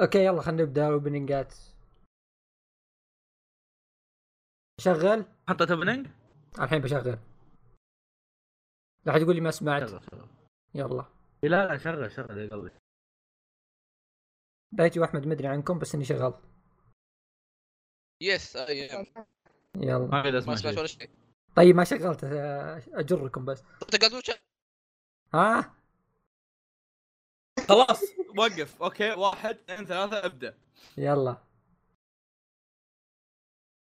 Speaker 2: اوكي يلا خلينا نبدا الاوبننجات شغل
Speaker 3: حطيت اوبننج؟
Speaker 2: الحين بشغل لا حد يقول لي ما سمعت يلا
Speaker 3: لا لا شغل شغل يا قلبي
Speaker 2: دايتي واحمد مدري عنكم بس اني شغال
Speaker 1: يس اي أم.
Speaker 2: يلا
Speaker 3: ما قاعد
Speaker 1: ما
Speaker 3: اسمع
Speaker 1: سمعت
Speaker 3: شيء.
Speaker 1: ولا شيء
Speaker 2: طيب ما شغلت آه، اجركم بس
Speaker 1: انت قاعد تقول شيء.
Speaker 2: ها
Speaker 3: خلاص وقف اوكي واحد اثنين ثلاثه ابدا
Speaker 2: يلا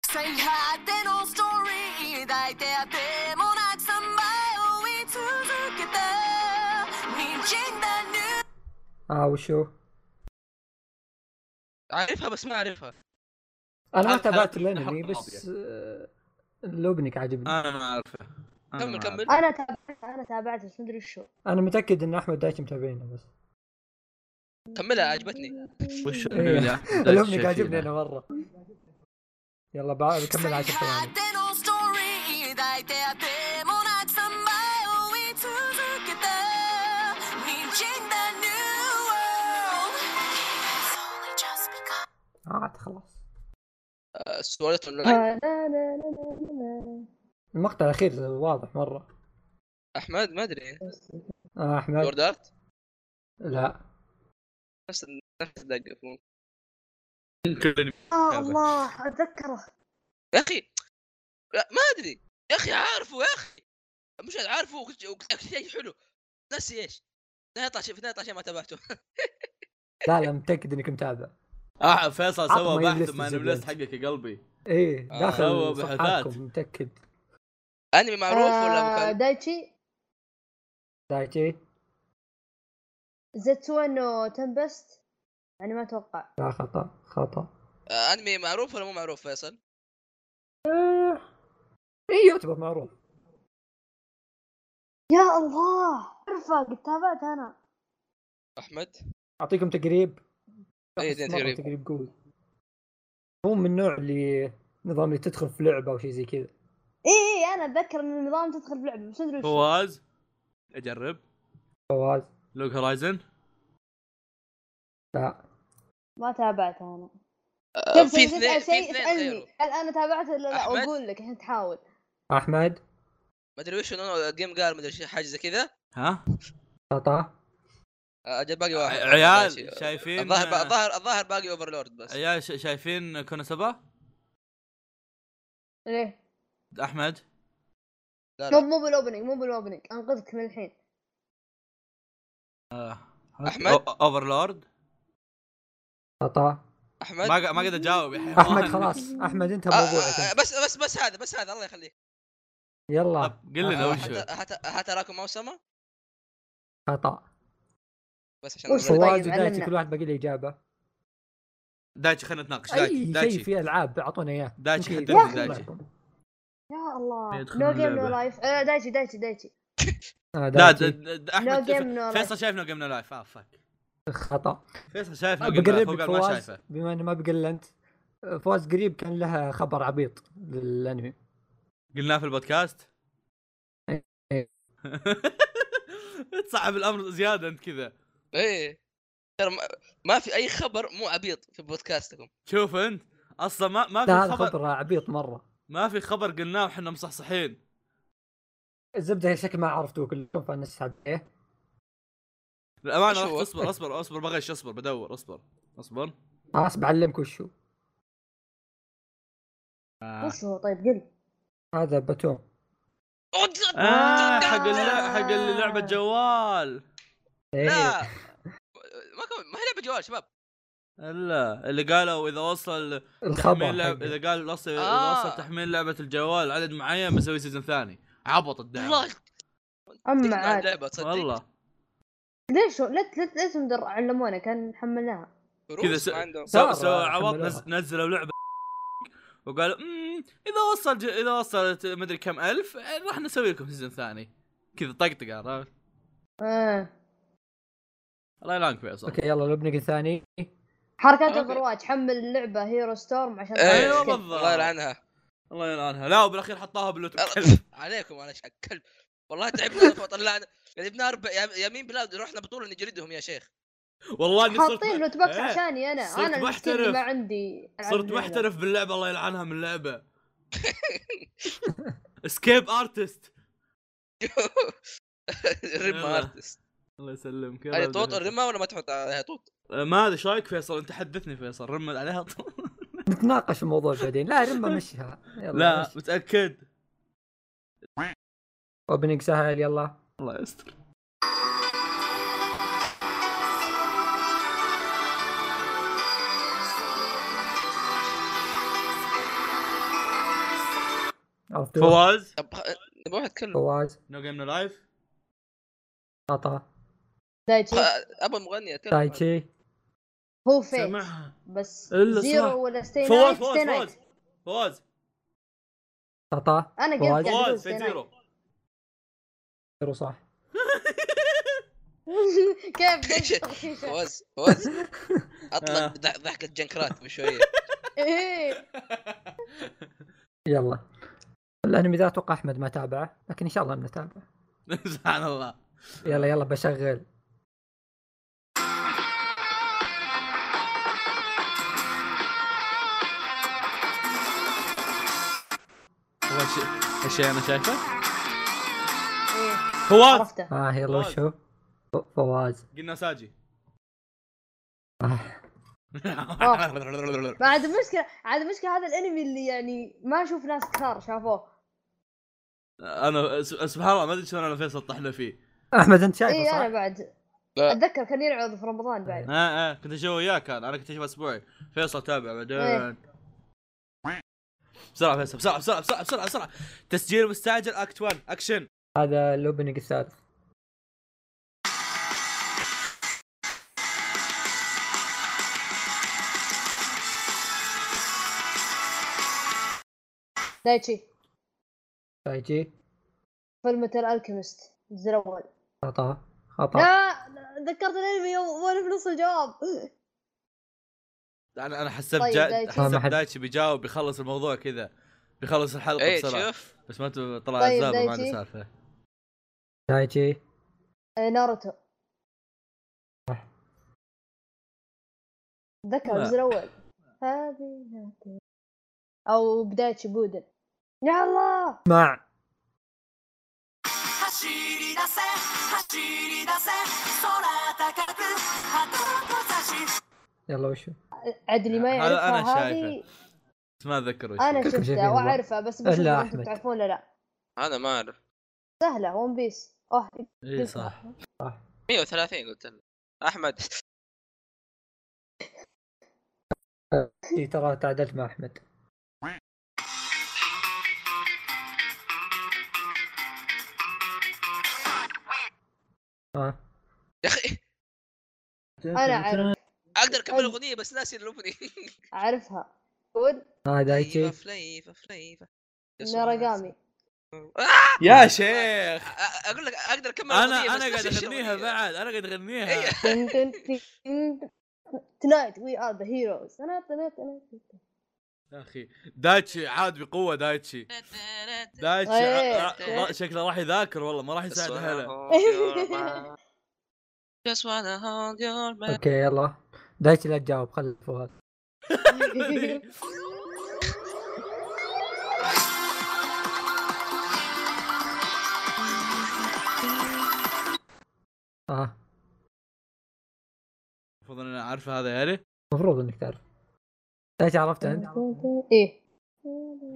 Speaker 7: 最果てのストーリー抱いてあってもなくさんば
Speaker 2: اه وشو؟
Speaker 1: اعرفها بس ما اعرفها
Speaker 2: انا ما
Speaker 3: حلقة- يعني.
Speaker 2: تابعت
Speaker 3: حلقة-
Speaker 2: الانمي
Speaker 3: حلقة
Speaker 2: بس آه، لوبنك عاجبني
Speaker 3: انا ما اعرفه أنا
Speaker 1: كمل
Speaker 3: ما
Speaker 1: كمل
Speaker 4: انا تابعت انا تابعت بس مدري شو
Speaker 2: انا متاكد ان احمد دايتش متابعينه بس
Speaker 1: كملها
Speaker 4: آه.
Speaker 1: عجبتني
Speaker 3: أعرف. وش
Speaker 2: إيه.
Speaker 3: الأنمي اللي أحمد دايتش
Speaker 2: لوبنك
Speaker 3: شايفينه؟
Speaker 2: عاجبني انا مره يلا بعد كمل عشر
Speaker 7: 最
Speaker 2: ثواني
Speaker 7: 果てのストーリー抱いてあてもなく三倍追い続けた滲んだ New World It's only just begun
Speaker 2: عاد خلاص
Speaker 1: آه، سولت اونلاين
Speaker 4: آه، لا، لا، لا، لا، لا.
Speaker 2: المقطع الاخير واضح مره
Speaker 1: احمد ما ادري
Speaker 2: آه احمد
Speaker 1: لورد ارت
Speaker 2: لا
Speaker 1: نفس نفس الدقه
Speaker 4: اه الله اتذكره
Speaker 1: يا اخي لا، ما ادري يا اخي عارفه يا اخي مش عارفه وكل شيء- وكل شيء حلو نسي ايش في النهاية طلع شيء في النهاية طلع شيء ما تابعته
Speaker 2: لا لا متاكد انك متابع
Speaker 3: آه فيصل
Speaker 2: عطنا
Speaker 3: سوى بحث
Speaker 2: يبلس
Speaker 3: ما
Speaker 2: تسجيل.
Speaker 3: لست حقك يا قلبي
Speaker 2: ايه
Speaker 1: آه،
Speaker 2: داخل
Speaker 3: هو بحثات.
Speaker 2: صفحاتكم متاكد
Speaker 1: انمي معروف ولا
Speaker 4: آه،
Speaker 1: مكان
Speaker 4: دايتشي
Speaker 2: دايتشي
Speaker 4: زيتسو انه تمبست يعني ما اتوقع
Speaker 2: لا خطا خطا
Speaker 1: آه، انمي معروف ولا مو معروف فيصل
Speaker 2: ايه
Speaker 1: أيوه.
Speaker 2: يعتبر معروف
Speaker 4: يا الله عرفه قد تابعت انا
Speaker 1: احمد
Speaker 2: اعطيكم تقريب
Speaker 1: اي
Speaker 2: بس مرة
Speaker 1: تقريبا
Speaker 2: تقريب قوي هو من النوع اللي نظام اللي تدخل في لعبه او شيء زي كذا
Speaker 4: اي اي انا اتذكر ان النظام تدخل في لعبه بس ادري وش
Speaker 3: فواز اجرب
Speaker 2: فواز
Speaker 3: لوك هورايزن
Speaker 2: لا
Speaker 4: ما تابعت انا
Speaker 1: آه، في
Speaker 4: تسأل-
Speaker 1: اثنين
Speaker 4: تسأل شيء،
Speaker 1: في اثنين
Speaker 4: اسألني.
Speaker 1: غيره
Speaker 4: هل انا تابعت ولا لا
Speaker 1: أحمد؟
Speaker 4: واقول لك الحين تحاول
Speaker 2: احمد
Speaker 1: ما ادري وش إنه جيم قال ما ادري شي- حاجه زي كذا
Speaker 3: ها
Speaker 2: خطا
Speaker 1: آه، اجل باقي واحد
Speaker 3: عيال شايفين
Speaker 1: طيب،
Speaker 3: آه.
Speaker 1: الظاهر الظاهر الظاهر باقي اوفرلورد بس
Speaker 3: عيال ش- شايفين كونسبا
Speaker 4: ليه؟
Speaker 3: احمد
Speaker 1: لا،
Speaker 4: مو
Speaker 1: لا.
Speaker 4: مو بالاوبننج مو بالاوبننج انقذك من الحين
Speaker 1: أحمد؟
Speaker 3: اوفرلورد
Speaker 2: خطا
Speaker 1: احمد
Speaker 3: ما ق- ما قد اجاوب يا حيوان
Speaker 2: احمد خلاص احمد انت
Speaker 1: آه، آه، آه،
Speaker 2: موضوعك
Speaker 1: بس بس بس هذا بس هذا الله يخليك
Speaker 2: يلا
Speaker 3: طب قل لنا
Speaker 2: آه،
Speaker 3: وش هو.
Speaker 1: حتى حتى حتى راكم موسمه
Speaker 2: خطا
Speaker 1: بس عشان
Speaker 4: وش
Speaker 1: أعمل-
Speaker 4: هو؟
Speaker 2: فواز ودايتشي
Speaker 4: علمنا.
Speaker 2: كل واحد باقي له اجابه
Speaker 3: دايتشي خلينا نتناقش دايتشي
Speaker 2: اي شيء
Speaker 3: دايتشي
Speaker 2: في العاب اعطونا اياه
Speaker 3: دايتشي
Speaker 2: أوكي، آه،
Speaker 3: حدد
Speaker 2: دايتشي
Speaker 3: دايتشي.
Speaker 2: معكم.
Speaker 4: يا الله
Speaker 3: إيه، يدخل
Speaker 4: نو جيم نو
Speaker 3: اللعبة.
Speaker 4: لايف دايتشي دايتشي دايتشي
Speaker 2: آه،
Speaker 3: لا
Speaker 2: دايتشي.
Speaker 3: د- د-
Speaker 4: نو
Speaker 3: احمد
Speaker 4: جيم نو لايف
Speaker 3: فيصل شايف نو جيم نو لايف اه فاك
Speaker 2: خطا
Speaker 3: فيصل شايف نو جيم نو لايف هو
Speaker 2: بقرب
Speaker 3: قال ما
Speaker 2: فواز
Speaker 3: شايفه
Speaker 2: بما انه ما بقل انت فواز قريب كان لها خبر عبيط للانمي
Speaker 3: قلناه في البودكاست
Speaker 2: إيه.
Speaker 3: تصعب الامر زياده انت كذا
Speaker 1: ايه ترى ما- ما في اي خبر مو عبيط في بودكاستكم
Speaker 3: شوف انت اصلا ما ما
Speaker 2: لا
Speaker 3: في
Speaker 2: هذا
Speaker 3: خبر
Speaker 2: خبر عبيط مره
Speaker 3: ما في خبر قلناه وحنا مصحصحين
Speaker 2: الزبده شكل ما عرفتوه كلكم إيه؟ فنسحب عليه
Speaker 3: للامانه
Speaker 1: وش
Speaker 3: رحت
Speaker 1: هو؟
Speaker 3: اصبر اصبر اصبر بغش اصبر بدور اصبر اصبر
Speaker 2: خلاص بعلمك وشو
Speaker 4: وش هو طيب قل
Speaker 2: هذا باتوم
Speaker 3: آه
Speaker 4: آه.
Speaker 3: حق اللع- حق لعبه جوال
Speaker 2: إيه.
Speaker 1: لا ما كم... ما هي لعبه جوال شباب
Speaker 3: الا اللي قالوا اذا وصل
Speaker 2: الخبر
Speaker 3: تحميل لعب
Speaker 2: حقه.
Speaker 3: اذا قال وصل
Speaker 1: آه.
Speaker 3: اذا وصل تحميل لعبه الجوال عدد معين بسوي سيزون ثاني عبط الدعم
Speaker 1: والله
Speaker 4: اما
Speaker 1: تقنع
Speaker 4: عاد
Speaker 1: اللعبه تصدق
Speaker 3: نعم. والله
Speaker 4: ليش هو- لا لا لازم در- علمونا كان نحملها
Speaker 1: فلوس
Speaker 3: كذا س-
Speaker 1: ما عندهم
Speaker 3: سو
Speaker 2: مرة
Speaker 3: سو عوض
Speaker 2: حملوها.
Speaker 3: نز- نزلوا لعبه وقالوا امم اذا وصل ج... اذا وصلت مدري كم الف آه، راح نسوي لكم سيزون ثاني كذا طقطقه عرفت؟
Speaker 4: آه.
Speaker 3: الله يلعنك فيصل
Speaker 2: اوكي يلا لبنك الثاني
Speaker 4: حركات
Speaker 1: أوكي.
Speaker 4: اوفر واتش حمل اللعبه هيرو ستورم عشان
Speaker 1: إيه.
Speaker 4: تعرف
Speaker 3: ايوه
Speaker 4: كيف.
Speaker 3: بالضبط
Speaker 1: الله يلعنها
Speaker 3: الله يلعنها لا وبالاخير حطاها باللوت
Speaker 1: أر- عليكم انا شك كلب والله تعبنا طلعنا جبنا اربع يا- يمين بلاد رحنا بطوله نجلدهم يا شيخ
Speaker 3: والله اني صرت
Speaker 4: حاطين لوت بوكس
Speaker 3: إيه.
Speaker 4: عشاني انا
Speaker 3: صرت
Speaker 4: انا المسكين اللي
Speaker 3: محترف.
Speaker 4: ما عندي ألعاب
Speaker 3: صرت
Speaker 4: اللعبة.
Speaker 3: محترف باللعبه الله يلعنها من اللعبه اسكيب ارتست
Speaker 1: ريما
Speaker 3: يلا.
Speaker 1: ارتست
Speaker 3: الله يسلمك يا
Speaker 1: هذه
Speaker 3: رب
Speaker 1: طوط
Speaker 3: دفعت.
Speaker 1: الرمه ولا ما تحط عليها طوط
Speaker 3: آه، ما ادري ايش رايك فيصل انت حدثني فيصل رمل عليها طول
Speaker 2: نتناقش الموضوع بعدين لا رمى مشها يلا
Speaker 3: لا
Speaker 2: مش.
Speaker 3: متاكد
Speaker 2: اوبننج سهل يلا
Speaker 3: الله يستر
Speaker 2: عرفتوه
Speaker 3: فواز
Speaker 1: طب خ- نبغى واحد يتكلم
Speaker 2: فواز
Speaker 3: نو جيم نو لايف
Speaker 2: خطا
Speaker 4: دايتشي
Speaker 1: خ- ابغى مغني اتكلم
Speaker 2: تايتشي
Speaker 4: هو فيك
Speaker 3: سمعها
Speaker 4: بس
Speaker 3: إلا صح.
Speaker 4: زيرو ولا ستي
Speaker 3: فواز
Speaker 4: نايت
Speaker 3: فواز فواز فواز
Speaker 4: ستي نايت
Speaker 2: طاطا
Speaker 4: انا قلت
Speaker 2: فواز.
Speaker 4: قاعد أقول
Speaker 3: فواز
Speaker 4: ستي
Speaker 3: في
Speaker 4: نايت
Speaker 3: زيرو
Speaker 2: يرو صح
Speaker 4: كيف قلت
Speaker 1: ايش
Speaker 4: تغشيشة؟
Speaker 1: فوز فوز
Speaker 3: آه.
Speaker 1: اطلق ضح- ضحكه جنكرات قبل شويه
Speaker 4: إيه.
Speaker 2: يلا الانمي ذا اتوقع احمد ما تابعه لكن ان شاء الله بنتابعه
Speaker 3: سبحان الله
Speaker 2: يلا يلا بشغل
Speaker 3: هو الشيء الشيء انا شايفه
Speaker 4: إيه.
Speaker 3: فواز
Speaker 4: عرفته
Speaker 2: اه يلا
Speaker 3: فواز.
Speaker 2: وشو ف- فواز
Speaker 3: قلنا ساجي
Speaker 2: آه.
Speaker 4: ما عاد المشكلة عاد المشكلة هذا الانمي اللي يعني ما اشوف ناس كثار شافوه
Speaker 3: انا س- سبحان الله ما ادري شلون انا فيصل طحنا فيه
Speaker 2: احمد انت شايفه
Speaker 4: اي انا
Speaker 2: صح؟
Speaker 4: إيه، بعد
Speaker 1: لا.
Speaker 4: اتذكر كان يلعب في رمضان بعد
Speaker 3: اه اه كنت اشوف وياك انا انا كنت اشوف اسبوعي فيصل تابع بعدين
Speaker 4: إيه.
Speaker 3: بسرعه فيصل بسرعه بسرعه بسرعه بسرعه بسرعه تسجيل مستعجل اكت 1 اكشن
Speaker 2: هذا الاوبننج الثالث
Speaker 4: دايتشي
Speaker 2: تايتشي
Speaker 4: فيلم الالكيمست الجزء الاول
Speaker 2: خطا خطا
Speaker 4: لا ذكرت الانمي يوم- وانا في نص الجواب
Speaker 3: انا انا حسبت
Speaker 4: طيب،
Speaker 3: جا...
Speaker 4: دايتشي.
Speaker 2: ما
Speaker 3: حسبت
Speaker 2: حد-
Speaker 3: دايتشي بيجاوب بيخلص الموضوع كذا بيخلص الحلقه
Speaker 1: اي
Speaker 3: بسرعه
Speaker 1: إيه، شوف
Speaker 3: بس ما انتم طلع
Speaker 4: طيب،
Speaker 3: عزابه ما عندي
Speaker 4: دايتشي.
Speaker 3: سالفه
Speaker 2: تايتشي
Speaker 4: آه، ناروتو ذكر
Speaker 3: لا.
Speaker 4: الجزء الاول هذه ناروتو. او بدايه شبودن يا الله
Speaker 2: مع
Speaker 6: 走り出せ走り出せ空高く旗を差し
Speaker 2: يلا وشو
Speaker 4: عدلي ما
Speaker 3: هذا
Speaker 4: يعرفها
Speaker 3: أنا شايفه.
Speaker 4: هذه
Speaker 3: بس ما اتذكر وش
Speaker 4: انا
Speaker 3: هي.
Speaker 2: شايفه
Speaker 4: شفتها
Speaker 2: والله.
Speaker 4: واعرفها بس بشوف
Speaker 2: إلا
Speaker 4: إذا انتم
Speaker 2: أحمد.
Speaker 4: تعرفون ولا لا
Speaker 1: انا ما اعرف
Speaker 4: سهله ون بيس اوه
Speaker 3: اي إيه، صح
Speaker 1: 130 قلت لك احمد
Speaker 2: إي إيه، ترى تعادلت مع احمد اه
Speaker 1: يا اخي
Speaker 4: انا اعرف
Speaker 1: اقدر اكمل
Speaker 4: طيب.
Speaker 1: الاغنيه بس ناسي الاغنيه
Speaker 4: اعرفها ود
Speaker 2: اه دايتشي
Speaker 1: فليفة أيوة.
Speaker 3: أيوه.
Speaker 1: فليفة فليفة
Speaker 4: ناراجامي
Speaker 3: يا شيخ
Speaker 1: أ- أ- اقول آه، لك اقدر اكمل
Speaker 3: انا
Speaker 1: الأغنية، بس
Speaker 3: انا قاعد
Speaker 1: ناسي إيش
Speaker 3: اغنيها
Speaker 1: الأغنية.
Speaker 3: بعد انا قاعد اغنيها
Speaker 1: إيه.
Speaker 4: Tonight we are the heroes. أنا- أنا- أنا-
Speaker 3: يا اخي دايتشي عاد بقوه دايتشي دايتشي
Speaker 4: إيه.
Speaker 3: ع-
Speaker 1: طيب.
Speaker 3: ع- ع- شكله راح يذاكر والله ما راح
Speaker 1: Just
Speaker 3: يساعد
Speaker 1: wanna
Speaker 3: اهله
Speaker 1: hold your man. Just wanna hold your man.
Speaker 2: اوكي يلا دايتشي لا تجاوب خل فواز
Speaker 3: إيه.
Speaker 2: اه
Speaker 3: المفروض ان انا عارف هذا يعني
Speaker 2: المفروض انك تعرف دايتشي عرفته انت؟
Speaker 4: إيه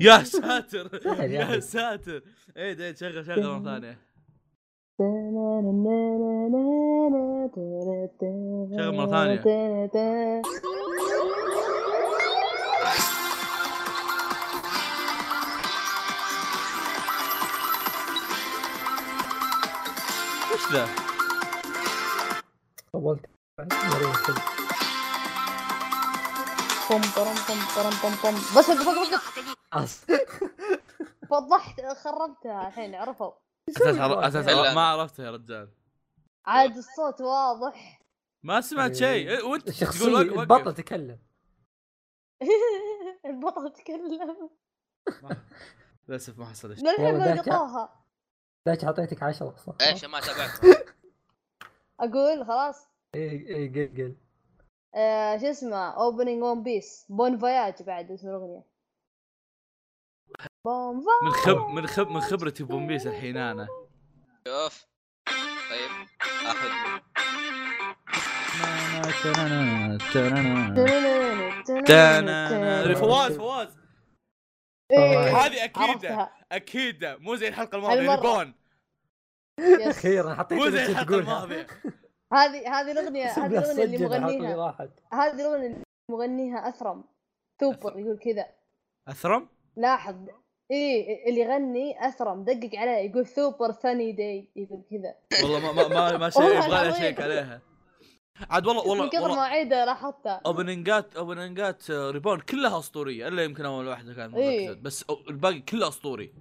Speaker 3: يا ساتر
Speaker 2: سهل
Speaker 3: يا
Speaker 2: يعني.
Speaker 3: ساتر اي دايت شغل شغل مره ثانيه شغل مرة
Speaker 4: ثانية
Speaker 3: وش ذا؟
Speaker 2: طولت مريض كذا.
Speaker 4: بوم برم بوم برم بوم بوم بس وقف وقف وقف
Speaker 2: أص-
Speaker 4: وضحت خربتها الحين عرفوا
Speaker 3: اساس عر- اساس
Speaker 1: إلا
Speaker 3: عر-
Speaker 1: أنا.
Speaker 3: ما عرفته يا رجال
Speaker 4: عاد الصوت واضح
Speaker 3: ما سمعت شيء إيه، وانت تقول
Speaker 2: الشخصية
Speaker 3: وقف
Speaker 2: البطل
Speaker 3: وقف
Speaker 2: تكلم
Speaker 4: البطل تكلم
Speaker 3: للاسف ما حصل شيء
Speaker 4: للحين
Speaker 2: والله
Speaker 4: ما
Speaker 2: ذاك-
Speaker 4: لقطوها
Speaker 2: دايتشي اعطيتك 10 صح؟
Speaker 1: ايش ما تابعت
Speaker 4: اقول خلاص
Speaker 2: اي اي إيه، قل قل
Speaker 4: آه، شو اسمه اوبننج ون بيس بون فياج بعد اسم الاغنيه بون فياج
Speaker 3: من خب من خب من خبرتي بون بيس الحين انا
Speaker 1: شوف طيب احمد
Speaker 3: تانا- فواز فواز
Speaker 4: إيه،
Speaker 3: هذه اكيده
Speaker 4: عرفتها
Speaker 3: اكيده مو زي الحلقه الماضيه
Speaker 4: هالمرة.
Speaker 3: ريبون
Speaker 4: يس.
Speaker 2: اخيرا حطيت
Speaker 3: مو زي
Speaker 4: طيب،
Speaker 2: اللي كنت
Speaker 3: الحلقه
Speaker 2: تقولها
Speaker 3: الماضيه
Speaker 4: هذه هذه الاغنيه
Speaker 2: اقسم
Speaker 4: هذه
Speaker 2: بالله
Speaker 4: الاغنيه اللي
Speaker 2: سجل الحلقة اللي
Speaker 4: مغنيها
Speaker 2: راحت
Speaker 4: هذه الاغنيه اللي مغنيها اثرم ثوبر يقول كذا
Speaker 3: اثرم
Speaker 4: لاحظ ايه اللي يغني اسرى مدقق عليه يقول سوبر ساني داي يقول كذا
Speaker 3: والله ما ما ما, ما شيء
Speaker 4: والله
Speaker 3: يبغى لها
Speaker 4: العظيم.
Speaker 3: شيك عليها عاد والله
Speaker 4: من
Speaker 3: والله
Speaker 4: كثر
Speaker 3: والله
Speaker 4: ما عيده لاحظته
Speaker 3: اوبننجات اوبننجات آه، ريبون كلها اسطوريه الا يمكن اول واحده كانت
Speaker 4: إيه.
Speaker 3: مركزة، بس أو- الباقي كله اسطوري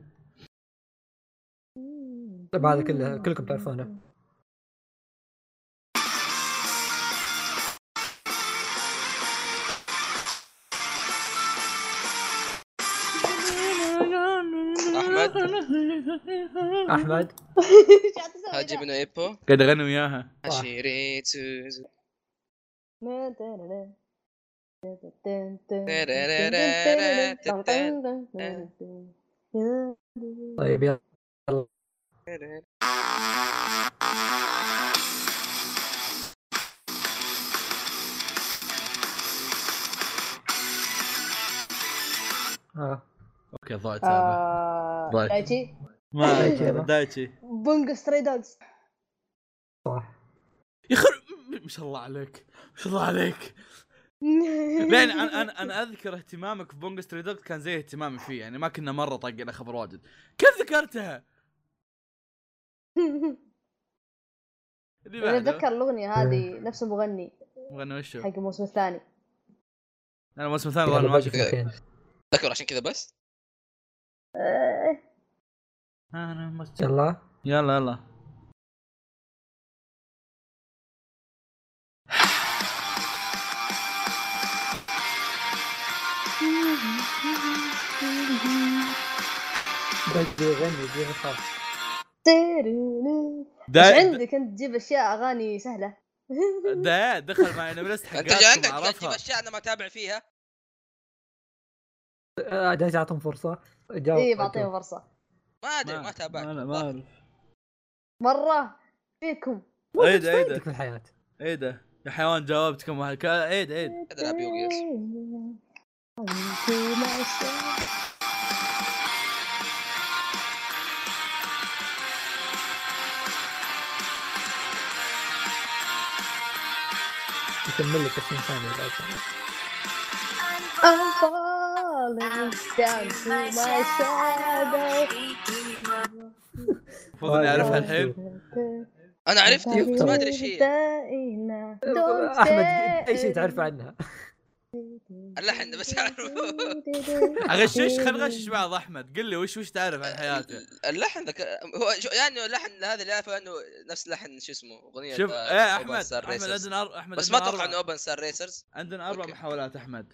Speaker 2: طيب هذا كله كلكم تعرفونه
Speaker 1: احمد
Speaker 2: احمد
Speaker 4: ايش قاعد تسوي
Speaker 1: هاجي
Speaker 4: ذا؟
Speaker 1: من ايبو
Speaker 3: قاعد اغني وياها
Speaker 2: صح.
Speaker 1: عشيري تسوزو.
Speaker 2: طيب يلا آه.
Speaker 3: اوكي ضاعت هذا.
Speaker 4: آه،
Speaker 3: ضايق.
Speaker 4: دايتشي
Speaker 3: ما
Speaker 2: دايتشي هذا.
Speaker 3: عليك، دايتشي
Speaker 4: بونجو ستري دوجز
Speaker 2: صح
Speaker 3: يا اخي ما شاء الله عليك ما شاء الله عليك لان انا انا انا اذكر اهتمامك في بونج ستري دوغ كان زي اهتمامي فيه يعني ما كنا مره طاقنا خبر واجد كيف ذكرتها؟ اللي
Speaker 4: انا
Speaker 3: بعده.
Speaker 4: اتذكر الاغنيه هذه نفس المغني
Speaker 3: مغني وشو؟
Speaker 4: حق الموسم الثاني
Speaker 3: انا الموسم الثاني والله
Speaker 2: يلا
Speaker 3: أنا ما
Speaker 2: باقي
Speaker 3: شفت
Speaker 2: فرقين.
Speaker 1: ذكر عشان كذا بس
Speaker 4: آه،
Speaker 3: أنا ما شفت.
Speaker 2: يلا
Speaker 3: يلا يلا
Speaker 2: بدي يغني يجيب الخط
Speaker 4: تيريري.
Speaker 3: دا
Speaker 4: ايش عندك انت تجيب اشياء اغاني سهله
Speaker 3: دا دخل معي انا بلست
Speaker 1: انت جا
Speaker 3: حقاتكم
Speaker 1: عندك تجيب
Speaker 3: اعرفها
Speaker 1: اشياء انا ما اتابع فيها
Speaker 2: آه، جايز اعطهم فرصه جاوب
Speaker 4: ايه بعطيهم فرصه
Speaker 1: ما ادري ما تابعت
Speaker 3: ما ما اعرف
Speaker 4: مره فيكم
Speaker 3: عيد عيد
Speaker 2: عندك في الحياه
Speaker 3: عيد إيه يا حيوان جاوبت كم واحد إيه كا- عيد عيد
Speaker 1: هذا العب يوغي
Speaker 4: آه.
Speaker 1: يس.
Speaker 2: يكمل لك 20 ثانيه بعد
Speaker 4: I'm falling down to my shadow. طيب،
Speaker 3: المفروض اني اعرفها الحين
Speaker 1: انا عرفتها بس ما ادري ايش هي
Speaker 4: دائما. Don't
Speaker 2: احمد
Speaker 4: say
Speaker 2: اي شيء تعرف عنها
Speaker 1: اللحن بس اعرفه
Speaker 3: اغشش خل نغشش بعض احمد قل لي وش وش تعرف
Speaker 1: إيه،
Speaker 3: عن حياته
Speaker 1: اللحن ذاك هو شو- يعني اللحن هذا اللي اعرفه انه نفس لحن شو اسمه اغنيه
Speaker 3: شوف
Speaker 1: آه،
Speaker 3: ايه
Speaker 1: Open
Speaker 3: احمد
Speaker 1: Star
Speaker 3: احمد
Speaker 1: Racers.
Speaker 3: عندنا أر- احمد
Speaker 1: بس ما
Speaker 3: عندنا
Speaker 1: اتوقع
Speaker 3: أربع-
Speaker 1: انه اوبن ستار ريسرز
Speaker 3: عندنا اربع
Speaker 1: أوكي.
Speaker 3: محاولات احمد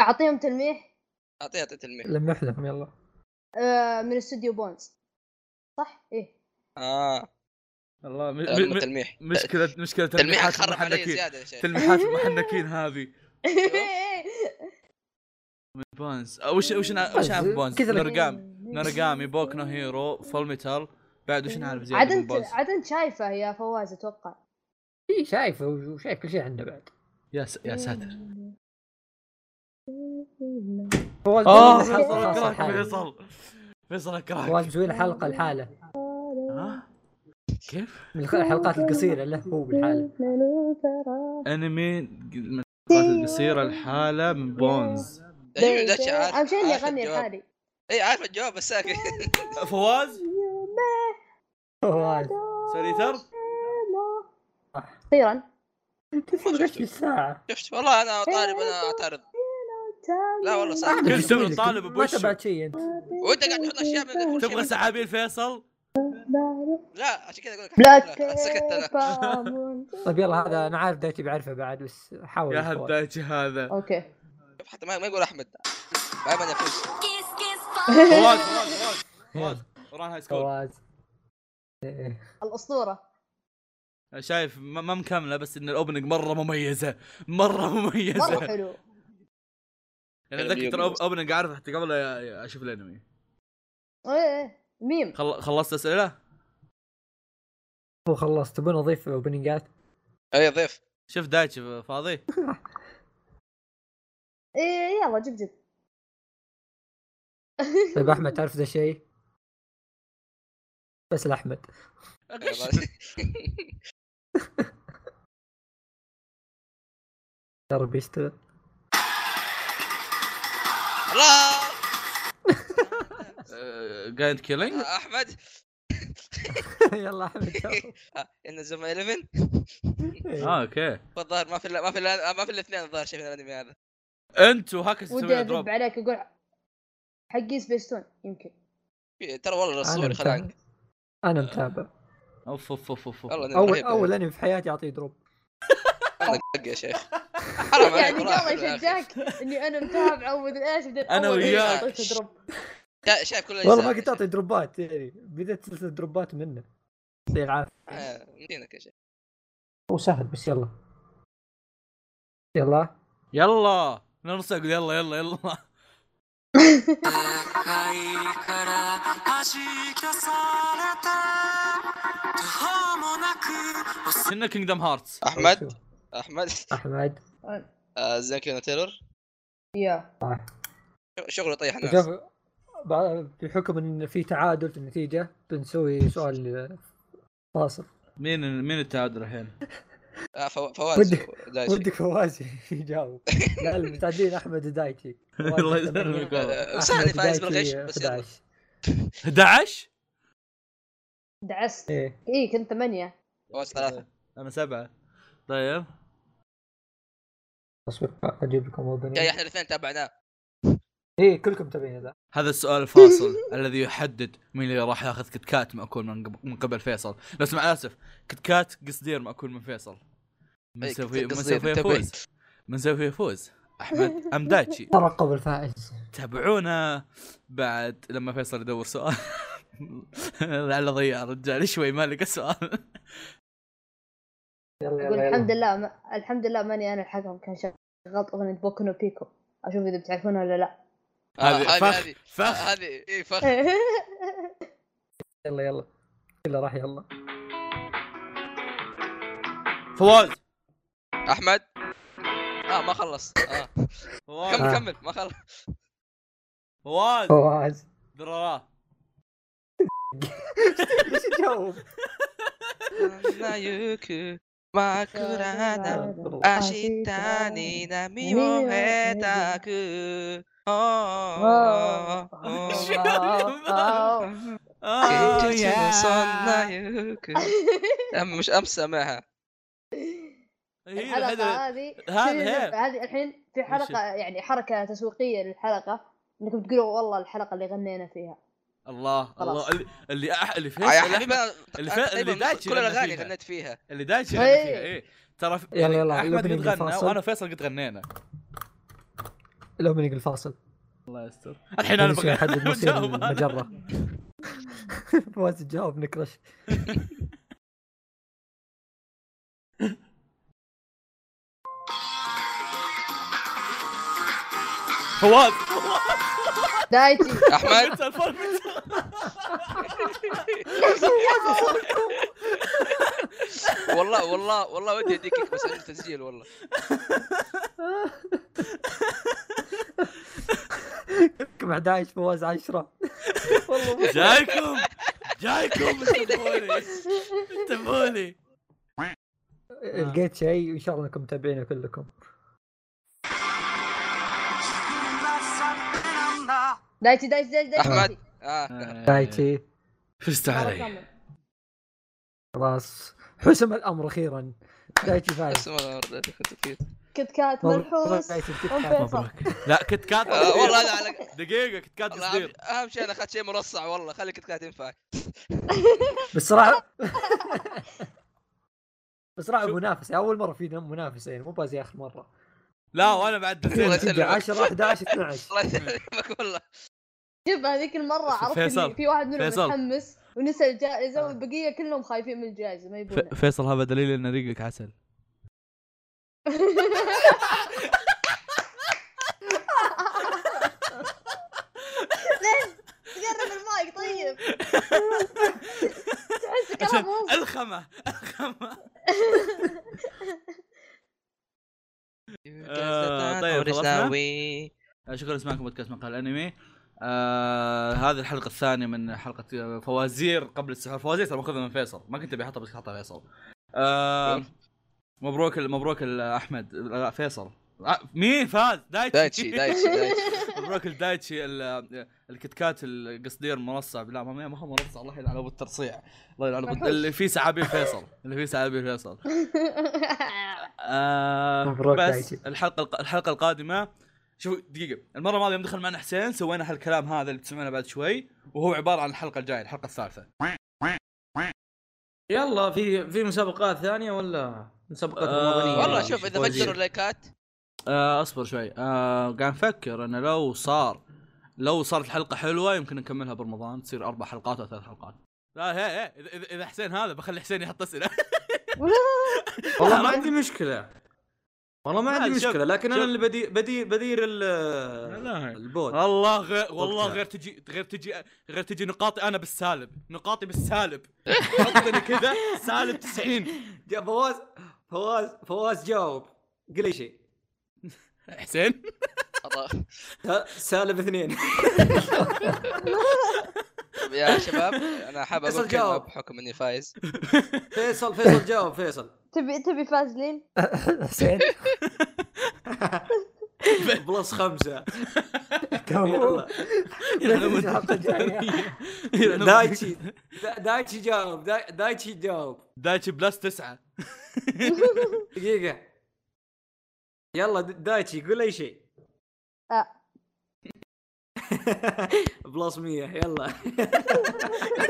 Speaker 4: اعطيهم تلميح
Speaker 1: اعطيها اعطيها تلميح
Speaker 2: لمح لهم يلا
Speaker 4: آه، من استوديو بونز صح؟ ايه
Speaker 1: اه
Speaker 3: الله م-
Speaker 1: آه،
Speaker 3: م- م-
Speaker 1: تلميح
Speaker 3: مشكله مشكله
Speaker 1: تلميحك
Speaker 3: تلميحات
Speaker 1: خرب علي
Speaker 3: المحنكين
Speaker 1: زياده يا شيخ يعني
Speaker 3: تلميحات المحنكين هذه
Speaker 1: أيوه.
Speaker 3: من بونز أه، وش وش نع- وش نعرف بونز
Speaker 2: كذا لك.
Speaker 3: نرقام نرقامي بوك نو هيرو فول ميتال بعد وش نعرف
Speaker 4: عاد
Speaker 3: زياده من
Speaker 4: انت
Speaker 3: بونز
Speaker 4: عاد انت شايفه يا فواز اتوقع
Speaker 2: اي شايفه وشايف كل شيء عنه بعد
Speaker 3: يا س- يا ساتر
Speaker 2: فواز
Speaker 3: اه
Speaker 2: مسوي لنا
Speaker 3: فيصل
Speaker 2: حلقة خاصة لحاله.
Speaker 3: اكرهك فيصل فيصل
Speaker 2: فواز
Speaker 3: اكرهك
Speaker 2: مسوي له حلقه لحاله
Speaker 3: ها؟ كيف؟
Speaker 2: من الخ- الحلقات القصيره له هو بالحاله
Speaker 3: انمي الحلقات القصيره الحاله من بونز
Speaker 1: أيوة، ذا شيء عارف-
Speaker 4: اهم شيء اني
Speaker 1: عارف
Speaker 4: اغني
Speaker 1: الجواب.
Speaker 4: لحالي
Speaker 1: اي إيه، عارف الجواب بس ساكت
Speaker 3: فواز
Speaker 2: فواز
Speaker 3: سريتر
Speaker 4: اخيرا
Speaker 2: تفرق ايش الساعه
Speaker 1: شفت والله انا طالب انا اعترض لا والله صح
Speaker 3: قلت تبغى الطالب
Speaker 2: ما
Speaker 3: بوشه.
Speaker 2: تبعت شيء انت
Speaker 1: وانت قاعد تحط اشياء من كل شيء
Speaker 3: تبغى
Speaker 1: من-
Speaker 3: سعابيل فيصل؟
Speaker 1: لا عشان كذا اقول لك
Speaker 4: بلاك
Speaker 1: لا، سكت انا
Speaker 2: طيب يلا هذا انا عارف دايتي بعرفه بعد بس حاول
Speaker 3: يا
Speaker 2: فواز.
Speaker 3: هدايتي هذا
Speaker 4: اوكي
Speaker 1: شوف، حتى ما ما يقول احمد دائما يفوز
Speaker 6: Kiss, kiss,
Speaker 3: فواز فواز فواز فواز وران هاي سكول
Speaker 2: فواز إيه.
Speaker 4: الاسطوره
Speaker 3: شايف ما ما مكمله بس ان الاوبننج مره مميزه مره مميزه
Speaker 4: مره حلو
Speaker 3: يعني اتذكر ترى اوبننج عارف حتى قبل أ- اشوف الانمي
Speaker 4: ايه إيه. ميم
Speaker 3: خل... خلصت اسئله؟
Speaker 2: هو خلص تبون اضيف اوبننجات
Speaker 1: اي ضيف
Speaker 3: شوف دايتشي فاضي
Speaker 4: ايه يلا جب جب
Speaker 2: طيب احمد تعرف ذا شيء بس لاحمد ترى بيشتغل
Speaker 1: الله
Speaker 3: جاينت كيلينج
Speaker 1: آه، احمد
Speaker 2: يلا احمد جاوب.
Speaker 1: آه، ان زم 11
Speaker 2: إيه،
Speaker 3: اه اوكي
Speaker 1: والظاهر ما في إلا- ما في إلا- ما في الاثنين الظاهر شيء من الانمي هذا
Speaker 3: انت وهاكس
Speaker 4: ودي
Speaker 3: تسوي
Speaker 4: اذب
Speaker 3: دروب
Speaker 4: عليك اقول حقي سبيستون يمكن
Speaker 1: في- ترى والله
Speaker 2: انا
Speaker 1: الصور خلاني
Speaker 2: متابع انا متابع
Speaker 3: اوف اوف اوف اوف
Speaker 1: والله إنه
Speaker 2: اول
Speaker 1: رهيب.
Speaker 2: اول انمي في حياتي اعطيه دروب
Speaker 1: والله دق يا شيخ حرام عليك
Speaker 4: يعني
Speaker 1: والله
Speaker 4: قبل
Speaker 1: حلو يا أخي.
Speaker 4: يشجعك اني انا متابعه ومدري ايش بدأت
Speaker 3: أنا
Speaker 4: أول
Speaker 1: وياك.
Speaker 4: مرة أعطيك drop.
Speaker 1: شا- شايف كل الأجزاء
Speaker 2: والله ما
Speaker 1: يا
Speaker 2: كنت
Speaker 1: شيخ.
Speaker 2: اعطي دروبات يعني بديت سلسله دروبات منه يعطيه العافيه
Speaker 1: آه، يمدينك يا شيخ
Speaker 2: هو سهل بس يلا يلا
Speaker 3: يلا نرسل أقول يلا يلا يلا
Speaker 8: 愛から弾き出された途方もなく
Speaker 3: كنا كينجدم هارتس
Speaker 1: احمد احمد
Speaker 2: احمد
Speaker 1: آه، زاكينا تايلور
Speaker 4: يا
Speaker 1: شغ- شغله طيح الناس
Speaker 2: شوف بع- بحكم ان في تعادل في النتيجه بنسوي سؤال آه، فاصل
Speaker 3: مين مين التعادل الحين؟
Speaker 1: آه، فو- فواز
Speaker 2: ودي-
Speaker 1: دايجي.
Speaker 2: ودك فواز يجاوب لا المتعدين احمد دايتي
Speaker 3: الله يسلمك والله
Speaker 1: آه، سهل فايز بالغش بس يلا
Speaker 3: 11
Speaker 4: دعست
Speaker 2: ايه
Speaker 4: اي كنت ثمانية
Speaker 1: فواز
Speaker 2: آه.
Speaker 1: ثلاثة
Speaker 3: انا سبعه طيب
Speaker 2: اصبر اجيب لكم
Speaker 1: جاي
Speaker 2: اوبننج
Speaker 1: احنا الاثنين تابعناه
Speaker 2: ايه كلكم تبين ذا
Speaker 3: هذا السؤال الفاصل الذي يحدد مين اللي راح ياخذ كت كات ماكول من قبل, من قبل فيصل بس مع الاسف كت كات قصدير ماكول من فيصل من
Speaker 1: إيه،
Speaker 3: سوف
Speaker 1: كت كات
Speaker 3: من
Speaker 1: قصدير،
Speaker 3: سوف
Speaker 1: انتبه.
Speaker 3: يفوز من سوف يفوز احمد ام دايتشي
Speaker 2: ترقب الفائز
Speaker 3: تابعونا بعد لما فيصل يدور سؤال لعله ضيع الرجال شوي ما لقى سؤال
Speaker 2: يلا
Speaker 4: اقول
Speaker 2: يلا
Speaker 4: الحمد
Speaker 2: يلا
Speaker 4: لله ما... الحمد لله ماني انا الحكم كان شغلت اغنية بوكو نو بيكو اشوف اذا بتعرفونها ولا لا
Speaker 1: آه،
Speaker 3: هذه
Speaker 1: هذه
Speaker 3: فخ
Speaker 1: هذه آه،
Speaker 3: فخ
Speaker 1: هذه اي فخ
Speaker 2: يلا يلا كله راح يلا
Speaker 3: فواز
Speaker 1: احمد اه ما خلص آه.
Speaker 3: فواز
Speaker 1: كمل
Speaker 2: آه.
Speaker 1: كمل ما خلص
Speaker 3: فواز
Speaker 2: فواز
Speaker 3: دراراه
Speaker 2: ايش تجاوب؟
Speaker 1: نايوكو ما كورانا اشيتاني نامي
Speaker 4: ميو
Speaker 1: و هيتاكو
Speaker 4: آه.
Speaker 3: آه، يا.
Speaker 1: مش امس سامعها
Speaker 3: هي
Speaker 4: الحلقة
Speaker 3: هذا-
Speaker 4: هذه
Speaker 3: هذا هي.
Speaker 4: شوف- هذه الحين في حلقة يعني حركة تسويقية للحلقة انكم تقولوا والله الحلقة اللي غنينا فيها
Speaker 3: الله الله
Speaker 4: خلاص.
Speaker 3: اللي اللي أح- اللي
Speaker 1: آه، يا
Speaker 3: فيصل
Speaker 1: حبيبي
Speaker 3: أحمد-
Speaker 1: أنا-
Speaker 3: اللي
Speaker 1: أنا
Speaker 3: فا-
Speaker 1: تقريباً
Speaker 3: اللي دايتشي
Speaker 1: كل
Speaker 3: لما
Speaker 1: الاغاني
Speaker 3: فيها.
Speaker 1: غنيت فيها
Speaker 3: اللي دايتش
Speaker 4: إيه.
Speaker 3: ايه ترى في-
Speaker 2: طيب. يلا،
Speaker 3: يعني
Speaker 2: يلا،
Speaker 3: احمد
Speaker 2: الأوبننج
Speaker 3: قد غنى
Speaker 2: الفاصل.
Speaker 3: وانا فيصل قد غنينا
Speaker 2: الاوبننج الفاصل
Speaker 3: الله يستر الحين انا
Speaker 2: لازم
Speaker 3: بقى
Speaker 2: يحدد مصير
Speaker 3: بجاوب أنا.
Speaker 2: المجرة فواز تجاوب نكرش
Speaker 3: فواز
Speaker 4: دايتي
Speaker 1: احمد
Speaker 3: أنت الفرق.
Speaker 1: والله والله والله ودي اديكك بس عندي تسجيل والله
Speaker 2: كم 11 فواز 10
Speaker 4: والله
Speaker 3: جايكم جايكم انتبهوني انتبهوني
Speaker 1: آه.
Speaker 2: لقيت شيء وان شاء الله انكم متابعينه كلكم
Speaker 4: دايتي دايتي دايتي دايتي
Speaker 1: أحمد. اه
Speaker 2: دايتشي
Speaker 3: في
Speaker 4: مرة
Speaker 3: استعلي
Speaker 4: كاملة.
Speaker 2: خلاص حسم الامر اخيرا دايتشي
Speaker 1: بس
Speaker 2: فايز
Speaker 1: ما رديت كنت كيف
Speaker 4: كت كات منحوس
Speaker 2: مبروك
Speaker 3: لا كت كات
Speaker 1: آه، والله هذا على
Speaker 3: دقيقة كت كات
Speaker 1: والله
Speaker 3: تصدير
Speaker 1: أهم- اهم شيء انا اخذت شيء مرصع والله خلي كنت قاعد ينفعك
Speaker 2: بصراحه بصراحه منافسه اول مره في منافسه يعني مو بازي اخر مره
Speaker 3: لا وانا بعد
Speaker 1: الله
Speaker 3: دزيت.
Speaker 1: يسلمك.
Speaker 2: 10 11 12
Speaker 1: الله يسلمك والله
Speaker 4: شوف هذيك المرة
Speaker 3: ف-
Speaker 4: عرفت
Speaker 3: فيصل.
Speaker 4: إني في واحد منهم
Speaker 3: فيصل. آه.
Speaker 4: متحمس ونسى الجائزة والبقية كلهم خايفين من الجائزة ما يبون
Speaker 3: ف- فيصل هذا دليل ان ريقك عسل
Speaker 4: قرب المايك طيب تحس
Speaker 3: عشان
Speaker 4: كلام مو
Speaker 3: الخمه الخمه آه، طيب، خلصنا؟ آه، شكرا لسماعكم بودكاست مقال الانمي آه هذه الحلقه الثانيه من حلقه فوازير قبل السحور فوازير ترى ماخذها من فيصل ما كنت ابي احطها بس حطها فيصل آه مبروك ال- مبروك ال- احمد لا، فيصل آه، مين فاز دايتشي
Speaker 1: دايتشي دايتشي دايتشي
Speaker 3: باكل دايتشي ال- الكتكات القصدير مرصع لا ما ما هو مرصع الله يلعن ابو الترصيع الله يلعن ابو اللي فيه سعابير فيصل اللي فيه سعابير فيصل آه
Speaker 6: مبروك
Speaker 3: بس
Speaker 6: دايتشي.
Speaker 3: الحلقه الق- الحلقه القادمه شوف دقيقه المره الماضيه يوم دخل معنا حسين سوينا هالكلام هذا اللي تسمعونه بعد شوي وهو عباره عن الحلقه الجايه الحلقه الثالثه
Speaker 9: يلا في في مسابقات ثانيه ولا مسابقات
Speaker 3: آه،
Speaker 9: رمضانيه
Speaker 1: والله
Speaker 3: يعني
Speaker 1: شوف اذا
Speaker 3: فوزي.
Speaker 1: فجروا اللايكات
Speaker 3: آه اصبر شوي آه قاعد نفكر انا لو صار لو صارت حلقه حلوه يمكن نكملها برمضان تصير اربع حلقات او ثلاث حلقات لا هي هي إذا- اذا اذا حسين هذا بخلي حسين يحط اسئله
Speaker 9: والله ما عندي مشكله والله ما عندي
Speaker 3: عادي، شوف-
Speaker 9: مشكله لكن انا
Speaker 3: شوف.
Speaker 9: اللي بدي بدي بدير ال- البوت
Speaker 3: والله غير والله
Speaker 9: وقتها.
Speaker 3: غير تجي غير تجي غير تجي نقاطي انا بالسالب نقاطي بالسالب حطني كذا سالب 90
Speaker 9: يا فواز فواز فواز جاوب قل لي شيء
Speaker 3: حسين
Speaker 1: أطا-
Speaker 9: ها، سالب اثنين
Speaker 1: طب طيب، يا شباب انا حاب
Speaker 9: بس
Speaker 1: اقول كلمه
Speaker 9: الجواب.
Speaker 1: بحكم اني فايز
Speaker 9: فيصل فيصل جاوب فيصل
Speaker 4: تبي تبي فازلين
Speaker 6: حسين
Speaker 9: بلس خمسة
Speaker 6: كفو.
Speaker 9: يلا.
Speaker 6: بس الحلقة الجاية.
Speaker 9: دايتشي دا- دايتشي جاوب دا- دايتشي جاوب
Speaker 3: دايتشي بلس تسعة
Speaker 9: دقيقة يلا د- دايتشي قول أي شيء
Speaker 4: آه.
Speaker 9: بلس 100 يلا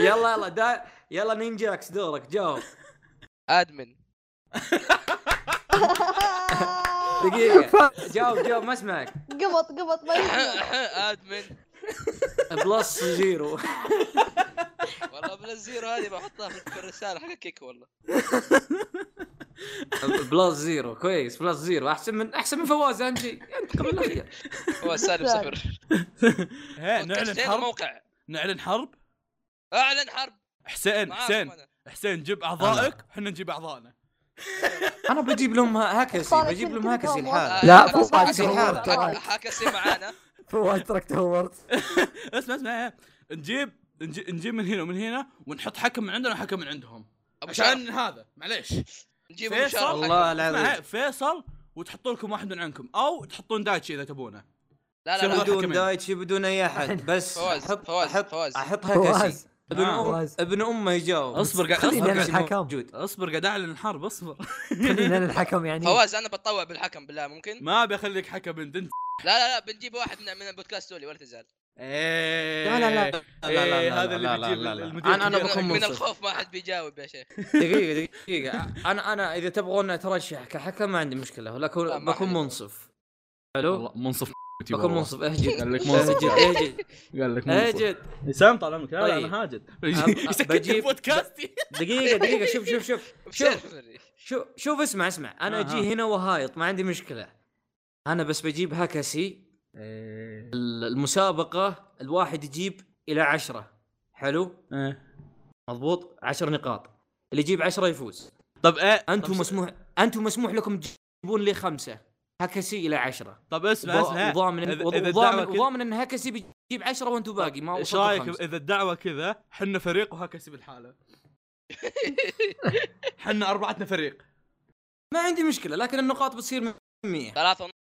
Speaker 9: يلا يلا دا يلا نينجاكس دورك جاوب
Speaker 1: ادمن
Speaker 9: دقيقة جاوب جاوب ما اسمعك
Speaker 4: قبط قبط ما يسمع.
Speaker 1: ادمن
Speaker 9: بلس زيرو
Speaker 1: والله من الزيرو هذه بحطها في الرساله حق كيك والله
Speaker 9: بلس زيرو كويس بلس زيرو احسن من احسن من فواز اهم شيء انت قبل الاخير
Speaker 1: هو سالب صفر
Speaker 4: سالب.
Speaker 3: هي إيه، نعلن
Speaker 1: حسين
Speaker 3: حرب
Speaker 1: موقع
Speaker 3: نعلن حرب
Speaker 1: اعلن حرب
Speaker 3: حسين
Speaker 1: معاكم
Speaker 3: حسين
Speaker 1: أنا.
Speaker 3: حسين جيب اعضائك احنا نجيب اعضائنا
Speaker 9: انا بجيب لهم هاكسي بجيب لهم هاكسي الحال
Speaker 1: آه،
Speaker 6: لا،
Speaker 1: حكسي-
Speaker 6: فوق
Speaker 1: حكسي-
Speaker 9: الحرب
Speaker 1: حك-
Speaker 6: ترى.
Speaker 1: حكسي معانا
Speaker 6: فواز تركت هوورد
Speaker 3: اسمع اسمع نجيب نجي- نجيب من هنا ومن هنا ونحط حكم من عندنا وحكم من عندهم
Speaker 1: ابو شرف
Speaker 3: عشان هذا معليش
Speaker 1: نجيب
Speaker 3: فيصل.
Speaker 1: ابو شرف حكم.
Speaker 9: والله
Speaker 3: اسمع هي،
Speaker 9: العظيم
Speaker 3: فيصل وتحطوا لكم واحد من عندكم او تحطون دايتشي اذا تبونه
Speaker 1: لا لا
Speaker 3: شوف
Speaker 1: لا
Speaker 9: بدون
Speaker 3: حكمين.
Speaker 9: دايتشي بدون اي احد بس
Speaker 1: فواز،
Speaker 9: احط
Speaker 1: فواز،
Speaker 9: احط
Speaker 1: فواز.
Speaker 9: احط
Speaker 6: فواز.
Speaker 9: هاكسي ابن
Speaker 3: آه.
Speaker 9: ام
Speaker 6: فواز.
Speaker 9: ابن امه يجاوب
Speaker 3: اصبر قاعد
Speaker 6: خليني
Speaker 3: اصبر
Speaker 6: أنا
Speaker 3: قاعد
Speaker 6: الحكم.
Speaker 3: موجود اصبر قاعد اعلن الحرب اصبر
Speaker 6: خلينا أنا الحكم يعني
Speaker 1: فواز انا بتطوع بالحكم بالله ممكن
Speaker 3: ما ابي اخليك حكم بنت انت
Speaker 1: لا لا لا بنجيب واحد من من البودكاست دولي ولا تزعل
Speaker 3: ايه
Speaker 9: لا لا لا لا لا لا
Speaker 3: إيه،
Speaker 9: لا
Speaker 3: هذا اللي
Speaker 9: لا لا
Speaker 3: بيجيب
Speaker 9: لا لا.
Speaker 3: المدير
Speaker 9: أنا- أنا
Speaker 1: من-
Speaker 3: الكبير.
Speaker 9: بكون
Speaker 1: من
Speaker 9: منصف.
Speaker 1: الخوف ما حد بيجاوب يا شيخ
Speaker 9: دقيقه دقيقه انا انا اذا تبغون اترشح كحكم ما عندي مشكله
Speaker 1: لا،
Speaker 9: ولكن
Speaker 1: ما
Speaker 9: بكون
Speaker 1: عندي.
Speaker 9: منصف حلو
Speaker 3: والله منصف
Speaker 9: بكون منصف اهجد
Speaker 3: قال لك منصف
Speaker 9: اهجد اهجد
Speaker 3: قال لك منصف
Speaker 9: اهجد
Speaker 3: حسام طال عمرك لا لا
Speaker 9: طيب.
Speaker 3: انا هاجد
Speaker 9: أب-
Speaker 3: يسكتني
Speaker 9: بجيب-
Speaker 3: بودكاستي
Speaker 9: دقيقه دقيقه شوف شوف شوف شوف
Speaker 1: بشرف
Speaker 9: شوف شوف اسمع اسمع انا
Speaker 3: آه،
Speaker 9: اجي
Speaker 3: آه.
Speaker 9: هنا وهايط ما عندي مشكله انا بس بجيب هاكسي
Speaker 3: إيه.
Speaker 9: ال- المسابقه الواحد يجيب الى عشرة حلو
Speaker 3: إيه.
Speaker 9: مضبوط عشر نقاط اللي يجيب عشرة يفوز
Speaker 3: طب ايه
Speaker 9: انتم
Speaker 3: طب-
Speaker 9: مسموح انتم مسموح لكم تجيبون لي خمسه هاكسي الى عشرة
Speaker 3: طب اسمع اسمع
Speaker 9: وضامن
Speaker 3: إذا- إذا الدعوة
Speaker 9: وضامن
Speaker 3: كذا-
Speaker 9: وضامن ان هاكسي بيجيب عشرة وانتم باقي ما
Speaker 3: ايش
Speaker 9: وصلتوا
Speaker 3: رايك
Speaker 9: خمسة.
Speaker 3: اذا الدعوه كذا حنا فريق وهكسي بالحاله حنا اربعتنا فريق
Speaker 9: ما عندي مشكله لكن النقاط بتصير 100
Speaker 1: ثلاثة